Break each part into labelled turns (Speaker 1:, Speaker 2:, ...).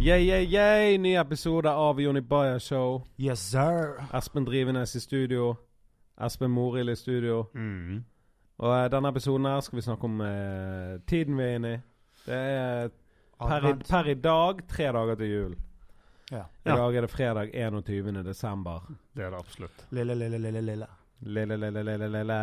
Speaker 1: Yeah, yeah, yeah! Ny episode av Jonny Bayer Show.
Speaker 2: Yes, sir.
Speaker 1: Espen Drivenes i studio. Espen Morild i studio.
Speaker 2: Mm.
Speaker 1: Og eh, denne episoden her skal vi snakke om eh, tiden vi er inne i. Det er per i,
Speaker 2: Advent.
Speaker 1: per i dag tre dager til jul.
Speaker 2: Ja.
Speaker 1: I dag er det fredag 21. desember.
Speaker 3: Det er det absolutt.
Speaker 2: Lille, lille, lille, lille.
Speaker 1: Lille, lille, lille, lille.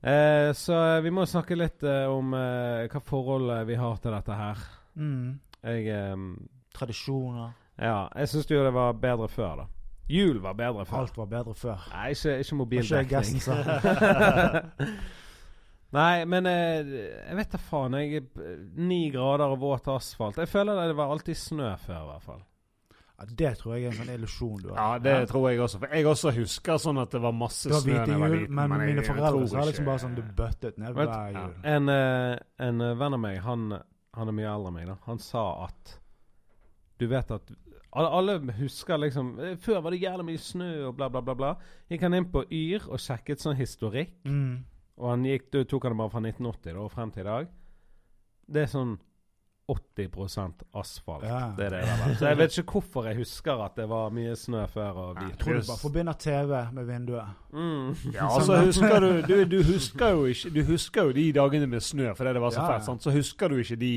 Speaker 1: Eh, så eh, vi må snakke litt eh, om eh, hva forholdet vi har til dette her.
Speaker 2: Mm.
Speaker 1: Jeg eh,
Speaker 2: Tradisjoner.
Speaker 1: Ja, jeg syns jo det var bedre før, da. Jul var bedre før.
Speaker 2: Alt var bedre før.
Speaker 1: Nei, ikke, ikke
Speaker 2: Var ikke det
Speaker 1: mobildekning.
Speaker 2: Gessen sa?
Speaker 1: Nei, men eh, jeg vet da faen. Jeg er Ni grader og våt asfalt. Jeg føler det var alltid snø før, i hvert fall.
Speaker 2: Ja, det tror jeg er en sånn illusjon du har.
Speaker 3: Ja, det tror jeg også. For jeg også husker sånn at det var masse
Speaker 2: Det var
Speaker 3: snø da
Speaker 2: hvite
Speaker 3: jeg var
Speaker 2: jul,
Speaker 3: liten.
Speaker 2: men mine
Speaker 3: jeg- jeg
Speaker 2: foreldre
Speaker 3: tror
Speaker 2: sa liksom
Speaker 3: ikke-
Speaker 2: bare sånn du bøttet ned
Speaker 1: Vet-
Speaker 2: hver
Speaker 3: ja.
Speaker 2: jul.
Speaker 1: En, eh, en eh, venn av meg, han, han er mye eldre enn meg, da. Han sa at Du vet at alle, alle husker liksom eh, Før var det jævlig mye snø og bla, bla, bla. bla. Gikk han inn på Yr og sjekket sånn historikk.
Speaker 2: Mm.
Speaker 1: Og han gikk, du tok han det bare fra 1980 da, og frem til i dag. Det er sånn 80 asfalt.
Speaker 2: Ja.
Speaker 1: Det er det der. da. Så jeg vet ikke hvorfor jeg husker at det var mye snø før og
Speaker 3: Ja.
Speaker 1: hvit.
Speaker 2: Tror du bare forbinder TV med vinduet.
Speaker 1: Mm.
Speaker 3: Ja, altså
Speaker 2: sånn,
Speaker 3: husker du, du, du husker jo ikke Du husker jo de dagene med snø fordi det var så
Speaker 2: Ja, ja.
Speaker 3: fett, sant? så husker du ikke de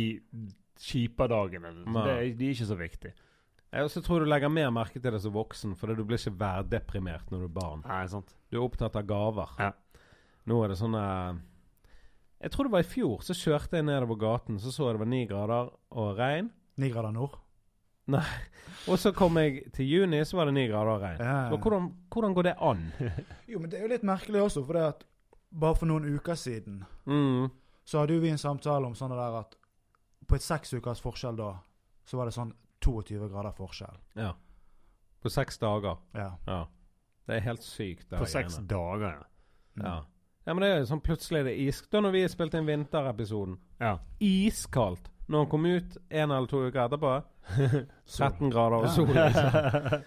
Speaker 3: kjipe dagene.
Speaker 1: Nei.
Speaker 3: Det, er- de er ikke så viktige.
Speaker 1: Jeg også tror du legger mer merke til det som voksen, for du blir ikke værdeprimert når du er barn.
Speaker 3: Nei, sant?
Speaker 1: Du er opptatt av gaver.
Speaker 3: Ja.
Speaker 1: Nå er det sånn eh, Jeg tror det var i fjor, så kjørte jeg nedover gaten, så så jeg det var ni grader og regn.
Speaker 2: Ni grader nord.
Speaker 1: Og så kom jeg til juni, så var det ni grader og regn.
Speaker 2: Ja.
Speaker 1: Og hvordan, hvordan går det an?
Speaker 2: Jo, men det er jo litt merkelig også, for det at bare for noen uker siden
Speaker 1: Mm.
Speaker 2: så hadde jo vi en samtale om sånn det der at på et seks ukers forskjell da, så var det sånn 22 grader forskjell.
Speaker 1: Ja. På seks dager.
Speaker 2: Ja.
Speaker 1: Ja. Det er helt sykt. det
Speaker 3: På
Speaker 1: her
Speaker 3: seks
Speaker 1: greiene.
Speaker 3: dager,
Speaker 1: Ja. ja, men det er jo sånn plutselig er det iskaldt. Da når vi spilte inn vinterepisoden,
Speaker 3: ja.
Speaker 1: iskaldt. Når han kom ut en eller to uker etterpå, 13 grader og
Speaker 2: Ja.
Speaker 1: sol. liksom.
Speaker 3: ja.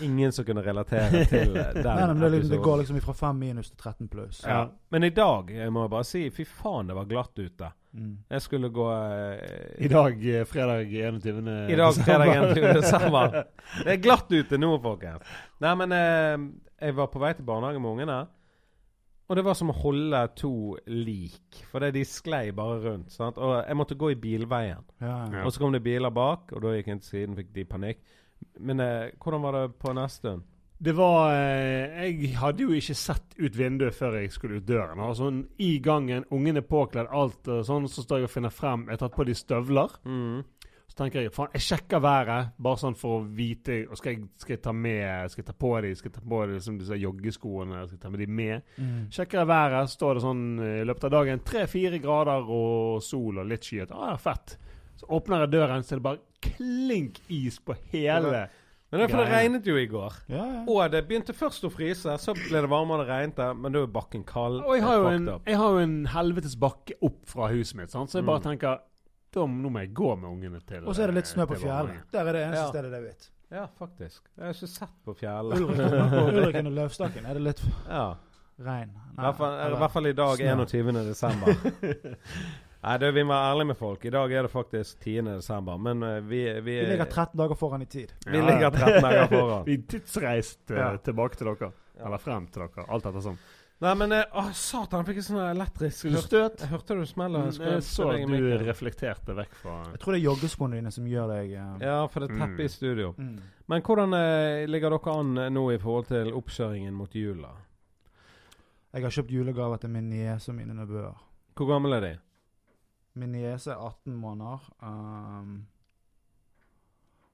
Speaker 1: Ingen som kunne relatere til eh, den
Speaker 2: Nei, nei, men det, er liksom- det går
Speaker 1: episoden.
Speaker 2: liksom fra 5 minus til 13 pluss.
Speaker 1: Ja. Men i dag jeg må jeg bare si fy faen, det var glatt ute.
Speaker 2: Mm.
Speaker 1: Jeg skulle gå
Speaker 3: I
Speaker 1: eh,
Speaker 3: dag, eh, fredag 21.
Speaker 1: I dag, fredag
Speaker 3: desember.
Speaker 1: 21. desember. Eh, Det er glatt ute nå, folkens. Nei, men eh, jeg var på vei til barnehagen med ungene. Og det var som å holde to lik, for det de sklei bare rundt. sant? Og jeg måtte gå i bilveien.
Speaker 2: Ja, ja.
Speaker 3: Ja.
Speaker 1: Og så kom det biler bak, og da gikk jeg inn til siden, fikk de panikk. Men eh, hvordan var det på neste stund?
Speaker 3: Det var eh, Jeg hadde jo ikke sett ut vinduet før jeg skulle ut døren. Og sånn I gangen, ungene påkledd, alt og sånn, så står jeg og finner frem. Jeg har tatt på de støvler.
Speaker 1: Mm.
Speaker 3: Så tenker jeg faen, jeg sjekker været, bare sånn for å vite og skal jeg, skal jeg ta med Skal jeg ta på de, skal jeg ta på de, liksom disse joggeskoene, skal jeg ta med de med?
Speaker 2: Mm.
Speaker 3: Sjekker jeg været, står det sånn eh, i løpet av dagen tre-fire grader og sol og litt skyet. Ah, fett. Så åpner jeg døren, så er det bare klink is på hele
Speaker 1: Men det er for det
Speaker 3: Greier.
Speaker 1: regnet jo i går.
Speaker 2: ja, ja.
Speaker 1: Og det begynte først å fryse, så ble det varmere og det regnet, men da er bakken kald.
Speaker 3: Og jeg har, jo
Speaker 1: fucked
Speaker 3: en,
Speaker 1: up.
Speaker 3: jeg har jo en helvetes bakke opp fra huset mitt, sant? så jeg bare
Speaker 1: Mm.
Speaker 3: tenker da, må- Nå må jeg gå med ungene til eh,
Speaker 2: Og så er det litt snø på
Speaker 3: til barnehagen.
Speaker 2: fjellet. Der er det eneste
Speaker 1: Ja.
Speaker 2: stedet det er hvitt.
Speaker 1: Ja, faktisk. Jeg har ikke sett på fjellet.
Speaker 2: Ulriken og Løvstakken er det litt
Speaker 1: Ja.
Speaker 2: regn.
Speaker 1: I hvert fall,
Speaker 2: eller-
Speaker 1: I hvert fall i dag,
Speaker 2: Snø.
Speaker 1: 21. desember. Nei, du, vi må være ærlige med folk. I dag er det faktisk 10. desember, men eh, vi, vi,
Speaker 2: vi ligger 13 dager foran i tid.
Speaker 1: vi ligger 13 dager foran.
Speaker 3: Vi tidsreiste
Speaker 2: Ja.
Speaker 3: tilbake til dere.
Speaker 1: Ja.
Speaker 3: Eller frem til dere. Alt etter sånn.
Speaker 1: Nei, men eh, Å, satan, jeg fikk en sånn elektrisk
Speaker 3: Skulle du
Speaker 1: hørte-
Speaker 3: støt?
Speaker 1: Hørte du
Speaker 2: Mm,
Speaker 1: smellet? Skulle
Speaker 3: Jeg Mm, eh, så
Speaker 1: deg i
Speaker 3: at du
Speaker 1: mikken.
Speaker 3: reflekterte vekk fra
Speaker 2: Jeg tror det er joggeskoene dine som gjør deg eh,
Speaker 1: Ja, for det er teppe
Speaker 3: Mm.
Speaker 1: i studio.
Speaker 2: mm.
Speaker 1: Men hvordan eh, ligger dere an eh, nå i forhold til oppkjøringen mot jula?
Speaker 2: Jeg har kjøpt julegaver til min niese og mine nevøer.
Speaker 1: Hvor gammel er de?
Speaker 2: Min niese er 18 måneder. ehm,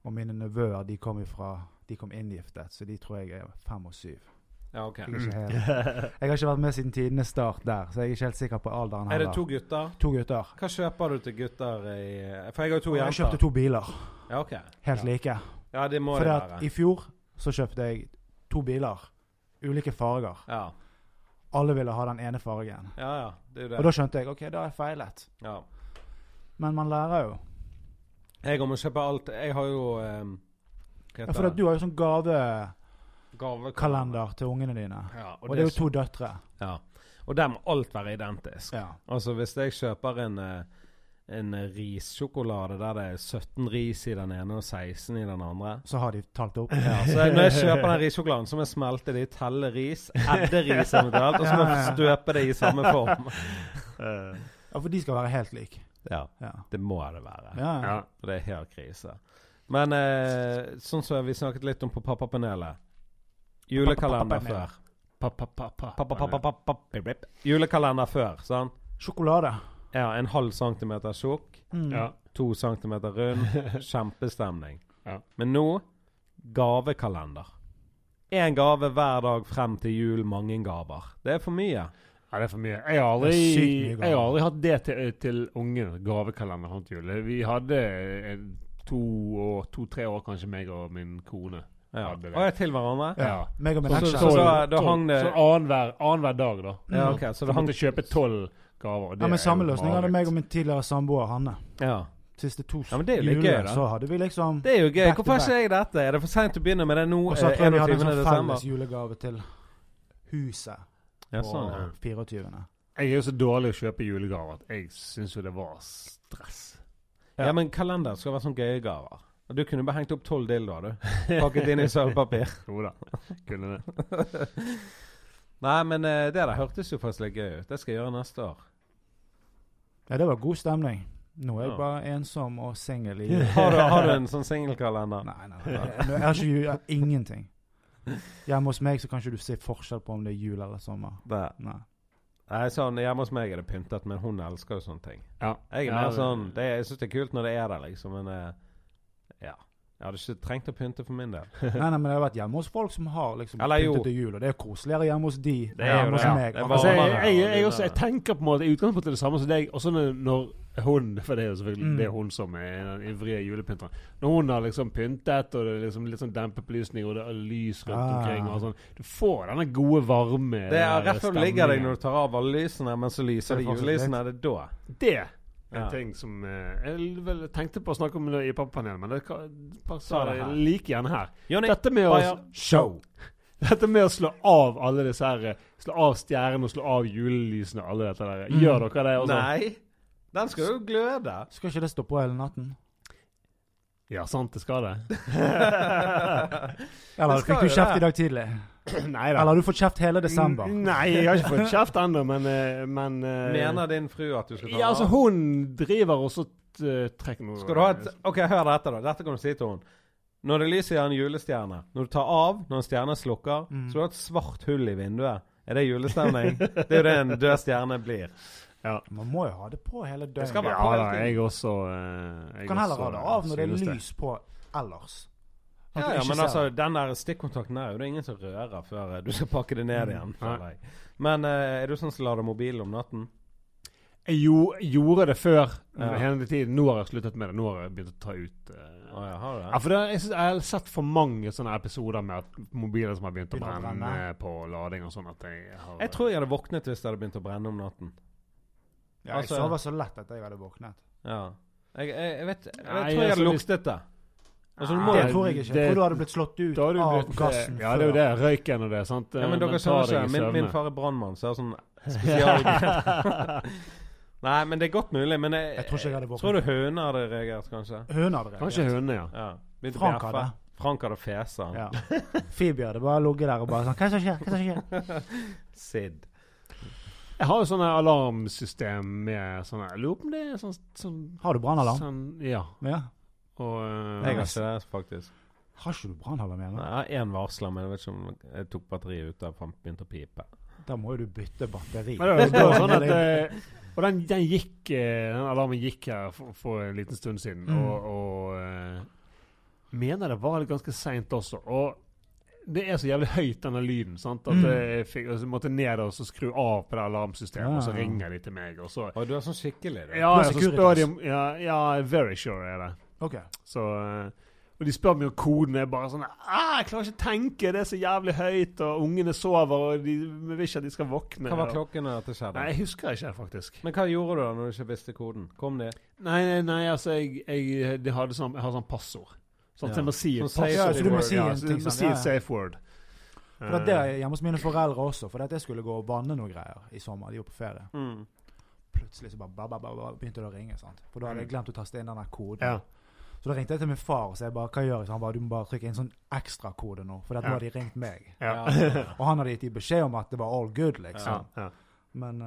Speaker 2: og mine nevøer de kom, ifra, de kom inngiftet, så de tror jeg er fem og syv.
Speaker 1: Ja, ok.
Speaker 2: Jeg, er ikke helt, jeg har ikke vært med siden tidenes start der, så jeg er ikke helt sikker på alderen
Speaker 1: Er det
Speaker 2: heller.
Speaker 1: to gutter?
Speaker 2: To gutter.
Speaker 1: Hva kjøper du til gutter i eh, For jeg har jo to
Speaker 2: Og jeg kjøpte
Speaker 1: jenter.
Speaker 2: to biler,
Speaker 1: Ja, ok.
Speaker 2: helt
Speaker 1: ja.
Speaker 2: like.
Speaker 1: Ja, det må
Speaker 2: For
Speaker 1: det
Speaker 2: at
Speaker 1: være.
Speaker 2: i fjor så kjøpte jeg to biler, ulike farger.
Speaker 1: Ja,
Speaker 2: Alle ville ha den ene fargen.
Speaker 1: ja. ja. Det er jo
Speaker 2: Og
Speaker 1: det.
Speaker 2: da skjønte jeg ok, da har jeg feilet.
Speaker 1: Ja.
Speaker 2: Men man lærer jo.
Speaker 1: Jeg må kjøpe alt Jeg har jo um, Hva
Speaker 2: Ja, for at du har jo sånn gavekalender
Speaker 1: Gavekalender.
Speaker 2: til ungene dine.
Speaker 1: Ja,
Speaker 2: Og det er jo to døtre.
Speaker 1: Ja. Og der må alt være identisk.
Speaker 2: Ja.
Speaker 1: Altså, hvis jeg kjøper en eh, en eh, rissjokolade der det er 17 ris i den ene og 16 i den andre.
Speaker 2: Så har de talt opp.
Speaker 1: Ja, så jeg, når jeg kjøper den rissjokoladen, så må jeg smelte det i telle ris, edde ris eventuelt, og så må jeg støpe det i samme form.
Speaker 3: Eh,
Speaker 2: Ja, for de skal være helt like.
Speaker 1: Ja,
Speaker 2: Ja.
Speaker 1: det må det være.
Speaker 2: Ja, ja.
Speaker 3: ja.
Speaker 1: For det er helt krise. Men eh, sånn som vi snakket litt om på pappapanelet Julekalender
Speaker 2: Pappapanelet.
Speaker 1: før. Pappa-pappa-pappa-pappa-pappa-pappa-pappa. Julekalender før, sant?
Speaker 2: Sjokolade.
Speaker 1: Ja, en halv centimeter tjukk,
Speaker 2: Mm.
Speaker 3: Ja.
Speaker 1: to centimeter rund. Kjempestemning.
Speaker 3: Ja.
Speaker 1: Men nå gavekalender. Én gave hver dag frem til jul, mange gaver. Det er for mye.
Speaker 3: Ja, det er for mye. Jeg har aldri,
Speaker 2: Det er sykt mye gaver.
Speaker 3: jeg har aldri hatt det til, eh, til ungene. Gavekalender sånn til jul. Vi hadde en- to år, to-tre år kanskje, meg og min kone.
Speaker 1: Ja.
Speaker 3: Ja, det er det.
Speaker 1: Og jeg til hverandre.
Speaker 2: Ja. Meg og min
Speaker 1: Så-
Speaker 2: aksje.
Speaker 1: så- da- da
Speaker 3: tolv-
Speaker 1: hang det-
Speaker 3: så annenhver annenhver dag, da.
Speaker 2: Mm.
Speaker 1: Ja, ok, Så
Speaker 3: Så
Speaker 1: det hang
Speaker 3: måtte jeg kjøpe tolv gaver. og det
Speaker 2: Ja, men
Speaker 3: er
Speaker 2: samme
Speaker 3: jo
Speaker 2: løsning hadde
Speaker 3: mareritt.
Speaker 2: meg og min tidligere samboer Hanne.
Speaker 1: Ja.
Speaker 2: Siste to
Speaker 1: Ja, men det er jo litt gøy, da.
Speaker 2: så hadde vi liksom
Speaker 1: Det er jo gøy.
Speaker 2: Back to
Speaker 1: Hvorfor har ikke jeg
Speaker 2: back.
Speaker 1: dette? Er det for seint å begynne med det nå?
Speaker 2: Og så
Speaker 1: eh,
Speaker 2: tror jeg vi hadde
Speaker 1: 21.
Speaker 2: en sånn
Speaker 1: desember.
Speaker 2: felles julegave til huset
Speaker 1: Ja, sånn, ja.
Speaker 2: på 24.
Speaker 3: Jeg er jo så dårlig å kjøpe julegaver at jeg syns jo det var stress.
Speaker 1: Ja. ja, men kalender skal være sånne gøye gaver. Og Du kunne bare hengt opp tolv dildoer, du. Pakket inn i sølvpapir.
Speaker 3: Jo da, kunne det.
Speaker 1: Nei, men eh, det der hørtes jo faktisk litt gøy ut. Det skal jeg gjøre neste år.
Speaker 2: Ja, det var god stemning. Nå er jeg
Speaker 1: Ja.
Speaker 2: bare ensom og singel i
Speaker 1: Har du, har du en sånn singelkalender?
Speaker 2: Nei, nei, nei. nei. Jeg har ikke jul, jeg har ingenting. Hjemme hos meg så kan ikke du se forskjell på om det er jul eller sommer.
Speaker 1: Det-
Speaker 2: Nei.
Speaker 1: Nei, sånn hjemme hos meg er det pyntet, men hun elsker jo sånne ting.
Speaker 3: Ja.
Speaker 1: Jeg er
Speaker 3: Ja,
Speaker 1: mer
Speaker 3: det-
Speaker 1: sånn det, Jeg syns det er kult når det er der, liksom, men eh, ja. Jeg hadde ikke trengt å pynte for min del.
Speaker 2: nei, nei, men jeg har vært hjemme hos folk som har liksom
Speaker 1: Eller jo.
Speaker 2: pyntet til jul, og det er koseligere hjemme hos de
Speaker 1: er jo
Speaker 2: enn hjemme
Speaker 1: det,
Speaker 2: hos
Speaker 1: ja.
Speaker 2: meg.
Speaker 1: Det er
Speaker 2: Akkurat
Speaker 3: Altså, jeg,
Speaker 1: varmere.
Speaker 2: som-
Speaker 3: jeg, jeg, også, jeg tenker på en måte i utgangspunktet det samme som deg. Og så når, når hun For det er jo selvfølgelig
Speaker 2: Mm.
Speaker 3: det er hun som er den ivrige julepynteren. Når hun har liksom pyntet, og det er liksom litt sånn dempet belysning, og det er lys rundt
Speaker 2: Ah.
Speaker 3: omkring og sånn Du får denne gode, varme
Speaker 1: Det er
Speaker 3: den
Speaker 1: rett før du ligger deg
Speaker 3: stemningen.
Speaker 1: når du tar av alle lysene, men så lyser
Speaker 2: Det
Speaker 1: det
Speaker 2: er faktisk
Speaker 1: julelysene. Det er da.
Speaker 3: Det er
Speaker 1: Ja.
Speaker 3: en ting som eh, jeg vel tenkte på å snakke om det i pappapanelet, men det kan-
Speaker 1: Ta
Speaker 3: passer
Speaker 1: det her.
Speaker 3: like gjerne her.
Speaker 1: Jonny,
Speaker 3: Dette med å
Speaker 1: Bayer.
Speaker 2: Show!
Speaker 3: Dette med å slå av alle disse her eh, Slå av stjernene og slå av julelysene og alle dette der.
Speaker 2: Mm.
Speaker 3: Gjør dere det også?
Speaker 1: Nei! Den skal jo gløde.
Speaker 2: Skal ikke det stå på hele natten?
Speaker 3: Ja, sant det skal det.
Speaker 2: Eller
Speaker 1: Det skal
Speaker 2: fikk du
Speaker 1: jo
Speaker 2: kjeft
Speaker 1: det.
Speaker 2: i dag tidlig?
Speaker 3: Nei
Speaker 2: Eller har du fått kjeft hele desember?
Speaker 3: N- Nei, jeg har ikke fått kjeft ennå, men, eh, men eh,
Speaker 1: Mener din fru at du skal ta
Speaker 3: Ja, altså,
Speaker 1: den av?
Speaker 3: hun driver og så eh, trekker noe
Speaker 1: Skal du ha et OK, hør dette, da. Dette kan du si til henne. Når det lyser i en julestjerne, når du tar av når en stjerne slukker,
Speaker 2: Mm.
Speaker 1: så har du et svart hull i vinduet. Er det julestemning? det er jo det en død stjerne blir.
Speaker 2: Man må jo ha det på hele
Speaker 1: Det skal
Speaker 2: døgnet.
Speaker 1: være-
Speaker 3: Ja da, jeg også. eh,
Speaker 2: Du
Speaker 3: jeg
Speaker 2: kan heller ha
Speaker 3: også,
Speaker 2: det av når det
Speaker 3: synes
Speaker 2: er lys på ellers. At
Speaker 1: Ja,
Speaker 2: du
Speaker 1: ja,
Speaker 2: ikke
Speaker 1: men
Speaker 2: ser
Speaker 1: altså,
Speaker 2: det.
Speaker 1: den der stikkontakten der er jo det ingen som rører før eh, du skal pakke det ned igjen. føler jeg. Men eh, er du sånn som lader mobilen om natten?
Speaker 3: Jeg jo, gjorde det før eh,
Speaker 1: Ja.
Speaker 3: hele tiden. Nå har jeg sluttet med det. Nå har jeg begynt å ta ut eh,
Speaker 1: Å ja, har du
Speaker 3: Ja,
Speaker 1: det?
Speaker 3: for det, jeg, synes, jeg har sett for mange sånne episoder med at mobiler som har begynt å
Speaker 2: Begynner å
Speaker 3: brenne,
Speaker 2: brenne.
Speaker 3: på lading og sånn at jeg har
Speaker 1: Jeg tror jeg hadde våknet hvis det hadde begynt å brenne om natten.
Speaker 2: Ja, jeg
Speaker 1: altså-
Speaker 2: sover så lett at jeg hadde våknet.
Speaker 1: Ja. Jeg, jeg, jeg vet Jeg,
Speaker 3: Nei,
Speaker 1: tror jeg
Speaker 3: altså,
Speaker 1: hadde
Speaker 3: hvis-
Speaker 1: luktet det. Altså, du
Speaker 3: Nei,
Speaker 1: må
Speaker 2: Det
Speaker 1: jo
Speaker 2: tror jeg ikke. Jeg
Speaker 3: det-
Speaker 2: tror du hadde blitt slått ut
Speaker 3: Da har du
Speaker 2: av
Speaker 3: blitt- eh,
Speaker 2: gassen
Speaker 3: Ja, det er jo det. Røyken og det, sant? Eh,
Speaker 1: Ja, men dere skjønner ikke. Min, min far er brannmann, så jeg har sånn spesial...
Speaker 3: spesial...
Speaker 1: Nei, men det er godt mulig. Men jeg,
Speaker 2: Jeg tror ikke jeg hadde
Speaker 1: Tror
Speaker 2: våknet.
Speaker 1: du høner hadde reagert, kanskje?
Speaker 2: Høna hadde
Speaker 3: Kanskje
Speaker 2: reagert.
Speaker 3: hundene, ja.
Speaker 1: Ja. Begynte å
Speaker 2: Frank
Speaker 1: bjeffe.
Speaker 2: hadde.
Speaker 1: Frank hadde fesa.
Speaker 2: Ja. Phoebe hadde bare ligget der og bare sånn Hva er det som skjer? Hva er det som skjer?
Speaker 1: Sid.
Speaker 3: Jeg har jo sånne alarmsystem med sånne Jeg lurer på om det er sånn, sånn,
Speaker 2: Har du brannalarm?
Speaker 3: sånn Ja.
Speaker 2: Ja.
Speaker 3: Og eh,
Speaker 1: Jeg har ikke det, faktisk.
Speaker 2: Har ikke du brannalarm igjen?
Speaker 1: Nei,
Speaker 2: da?
Speaker 1: jeg har én varsler, men jeg vet ikke om jeg tok batteriet ut av fant begynte å pipe.
Speaker 2: Da må jo du bytte batteri.
Speaker 3: Men det var- det var sånn at eh, Og den, den gikk eh, Den alarmen gikk her for, for en liten stund siden,
Speaker 2: Mm.
Speaker 3: og, og eh, Mener det var litt ganske seint også. Og det er så jævlig høyt, denne lyden. sant? At
Speaker 2: Mm.
Speaker 3: jeg fikk, og så måtte altså, jeg ned og så skru av på det alarmsystemet, og så
Speaker 2: Ja.
Speaker 3: ringer de til meg, og så
Speaker 1: Og du er sånn skikkelig, du.
Speaker 3: Ja,
Speaker 2: Du er
Speaker 3: ja, så
Speaker 2: Securitas.
Speaker 3: spør de om Ja, ja very sure er det.
Speaker 2: Ok.
Speaker 3: Så eh, og de spør meg om koden. Jeg bare sånn ah, 'Jeg klarer ikke å tenke, det er så jævlig høyt.' Og ungene sover, og de vi vil ikke at de skal våkne.
Speaker 1: Hva var
Speaker 3: og-
Speaker 1: klokken da dette
Speaker 3: Nei,
Speaker 1: skjedde?
Speaker 3: jeg husker ikke, faktisk.
Speaker 1: Men hva gjorde du da når du ikke visste koden? Kom de?
Speaker 3: Nei, nei, nei altså, jeg, jeg, de hadde sånn, jeg har sånn passord. Sånn
Speaker 1: Ja.
Speaker 3: at jeg må si et
Speaker 1: Sånn safe
Speaker 3: passord.
Speaker 1: Ja, så du må
Speaker 2: si
Speaker 3: ja,
Speaker 2: en
Speaker 3: så
Speaker 2: ting
Speaker 3: jeg må
Speaker 2: sånn,
Speaker 3: si
Speaker 2: ja,
Speaker 3: et
Speaker 2: ja.
Speaker 3: safe word.
Speaker 2: For
Speaker 1: Eh.
Speaker 2: Mm. det er det hjemme hos mine foreldre også, for at jeg skulle gå og banne noen greier i sommer. De var på ferie. plutselig så bare ba, ba, ba, ba, begynte det å ringe. sant? For da hadde
Speaker 1: Mm.
Speaker 2: jeg glemt å taste inn den der koden.
Speaker 3: Ja.
Speaker 2: Så da ringte jeg til min far og sa bare, hva gjør jeg? Så han bare du må bare trykke inn sånn ekstrakode nå, for at
Speaker 3: Ja.
Speaker 2: nå har de ringt meg.
Speaker 3: Ja.
Speaker 1: Ja.
Speaker 2: Og han hadde gitt de beskjed om at det var all good,
Speaker 3: Ja.
Speaker 2: liksom.
Speaker 3: Ja.
Speaker 2: Men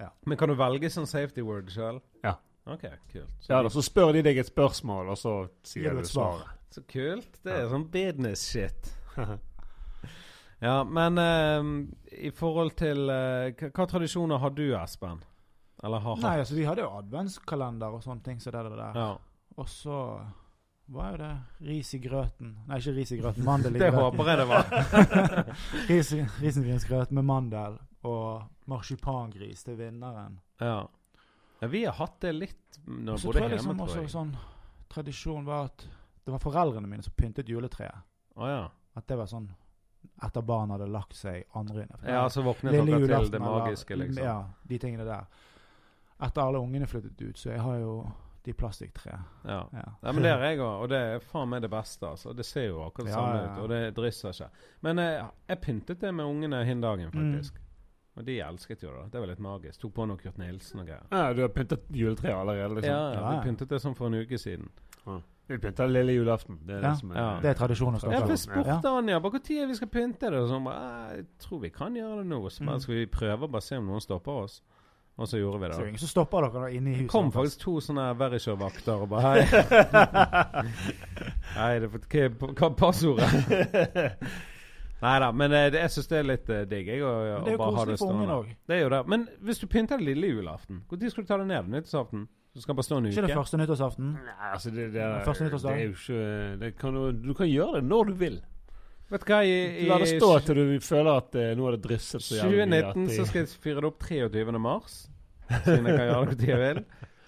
Speaker 2: eh,
Speaker 1: Men kan du velge sånn safety word sjøl?
Speaker 3: Ja.
Speaker 1: OK, kult.
Speaker 3: ja da, så spør de deg et spørsmål, og så
Speaker 2: Gir du
Speaker 3: sier du
Speaker 2: et svar?
Speaker 3: svaret.
Speaker 1: Så kult. Det er sånn business shit. Ja, men eh, i forhold til eh, hva, hva tradisjoner har du, Espen? Eller har
Speaker 2: Nei,
Speaker 1: hatt?
Speaker 2: altså vi hadde jo adventskalender og sånne ting, så det, det der.
Speaker 1: Ja.
Speaker 2: Og så var jo det ris i grøten. Nei, ikke ris i grøten, mandel i
Speaker 1: Det
Speaker 2: grøten.
Speaker 1: håper jeg det var.
Speaker 2: Ris, risengrynsgrøt med mandel og marsipangris til vinneren.
Speaker 1: Ja. ja. Vi har hatt det litt når jeg
Speaker 2: Så
Speaker 1: bodde
Speaker 2: tror jeg
Speaker 1: hjemme, tror
Speaker 2: liksom også
Speaker 1: jeg. Å
Speaker 2: sånn tradisjon var at det var foreldrene mine som pyntet juletreet.
Speaker 1: ja.
Speaker 2: At det var sånn etter barna hadde lagt seg andre inne.
Speaker 1: ja. Så altså våknet dere til det
Speaker 2: eller-
Speaker 1: magiske, liksom.
Speaker 2: Ja, de tingene der. Etter alle ungene flyttet ut, så jeg har jo de plastikktre.
Speaker 1: Ja.
Speaker 2: Ja.
Speaker 1: Ja, men det er jeg òg, og det er faen meg det beste. altså. Det ser jo akkurat det
Speaker 2: Ja,
Speaker 1: samme
Speaker 2: ja, ja.
Speaker 1: ut, og det drysser ikke. Men eh, jeg pyntet det med ungene hin dagen,
Speaker 2: Mm.
Speaker 1: faktisk. Og de elsket jo det. Det var litt magisk. Tok på noe Kurt Nilsen og greier.
Speaker 3: Ja, du har pyntet juletreet allerede,
Speaker 1: Ja,
Speaker 3: liksom.
Speaker 1: ja,
Speaker 2: Ja, ja.
Speaker 1: Vi pyntet det sånn for en uke siden.
Speaker 3: Vi pynter lille julaften. Det er
Speaker 2: Ja.
Speaker 3: det som er
Speaker 1: Ja.
Speaker 2: Det er tradisjonen. skal
Speaker 1: Ja, for
Speaker 2: være.
Speaker 1: jeg spurte
Speaker 2: sånn, Ja.
Speaker 1: Anja bare når vi skal pynte det. Og sånn bare, «Eh, jeg tror vi kan gjøre det nå. Så bare
Speaker 2: Mm.
Speaker 1: skal vi prøve og bare se om noen stopper oss. Og så gjorde vi
Speaker 2: Så det er jo
Speaker 1: det.
Speaker 2: ingen som stopper dere da inne i
Speaker 1: Det
Speaker 2: huset.
Speaker 1: kom
Speaker 2: deres.
Speaker 1: faktisk to sånne Verisher-vakter og bare hei. Nei, det er for, hva, hva er passordet? Nei da, men eh, det, jeg syns det er litt eh, digg. Jeg, å- å
Speaker 2: Men det er jo
Speaker 1: bare ha
Speaker 2: koselig for ungen
Speaker 1: stående.
Speaker 2: òg.
Speaker 1: Det er jo det. Men hvis du pynter det lille julaften, når skal du ta det ned? Nyttårsaften? Du skal bare stå en
Speaker 2: Ikke det
Speaker 1: uke?
Speaker 2: første nyttårsaften?
Speaker 3: Nei, altså det, det, er,
Speaker 2: Første
Speaker 3: det
Speaker 2: nyttårsdag.
Speaker 3: er jo ikke det kan du, du kan gjøre det når du vil.
Speaker 1: Vet du hva, i, i
Speaker 3: La det stå til du føler at eh, nå er det drysset så jævlig mye. at eh,
Speaker 1: 2019
Speaker 3: de-
Speaker 1: så skal jeg fyre det opp 23. mars, siden jeg kan gjøre det når jeg vil.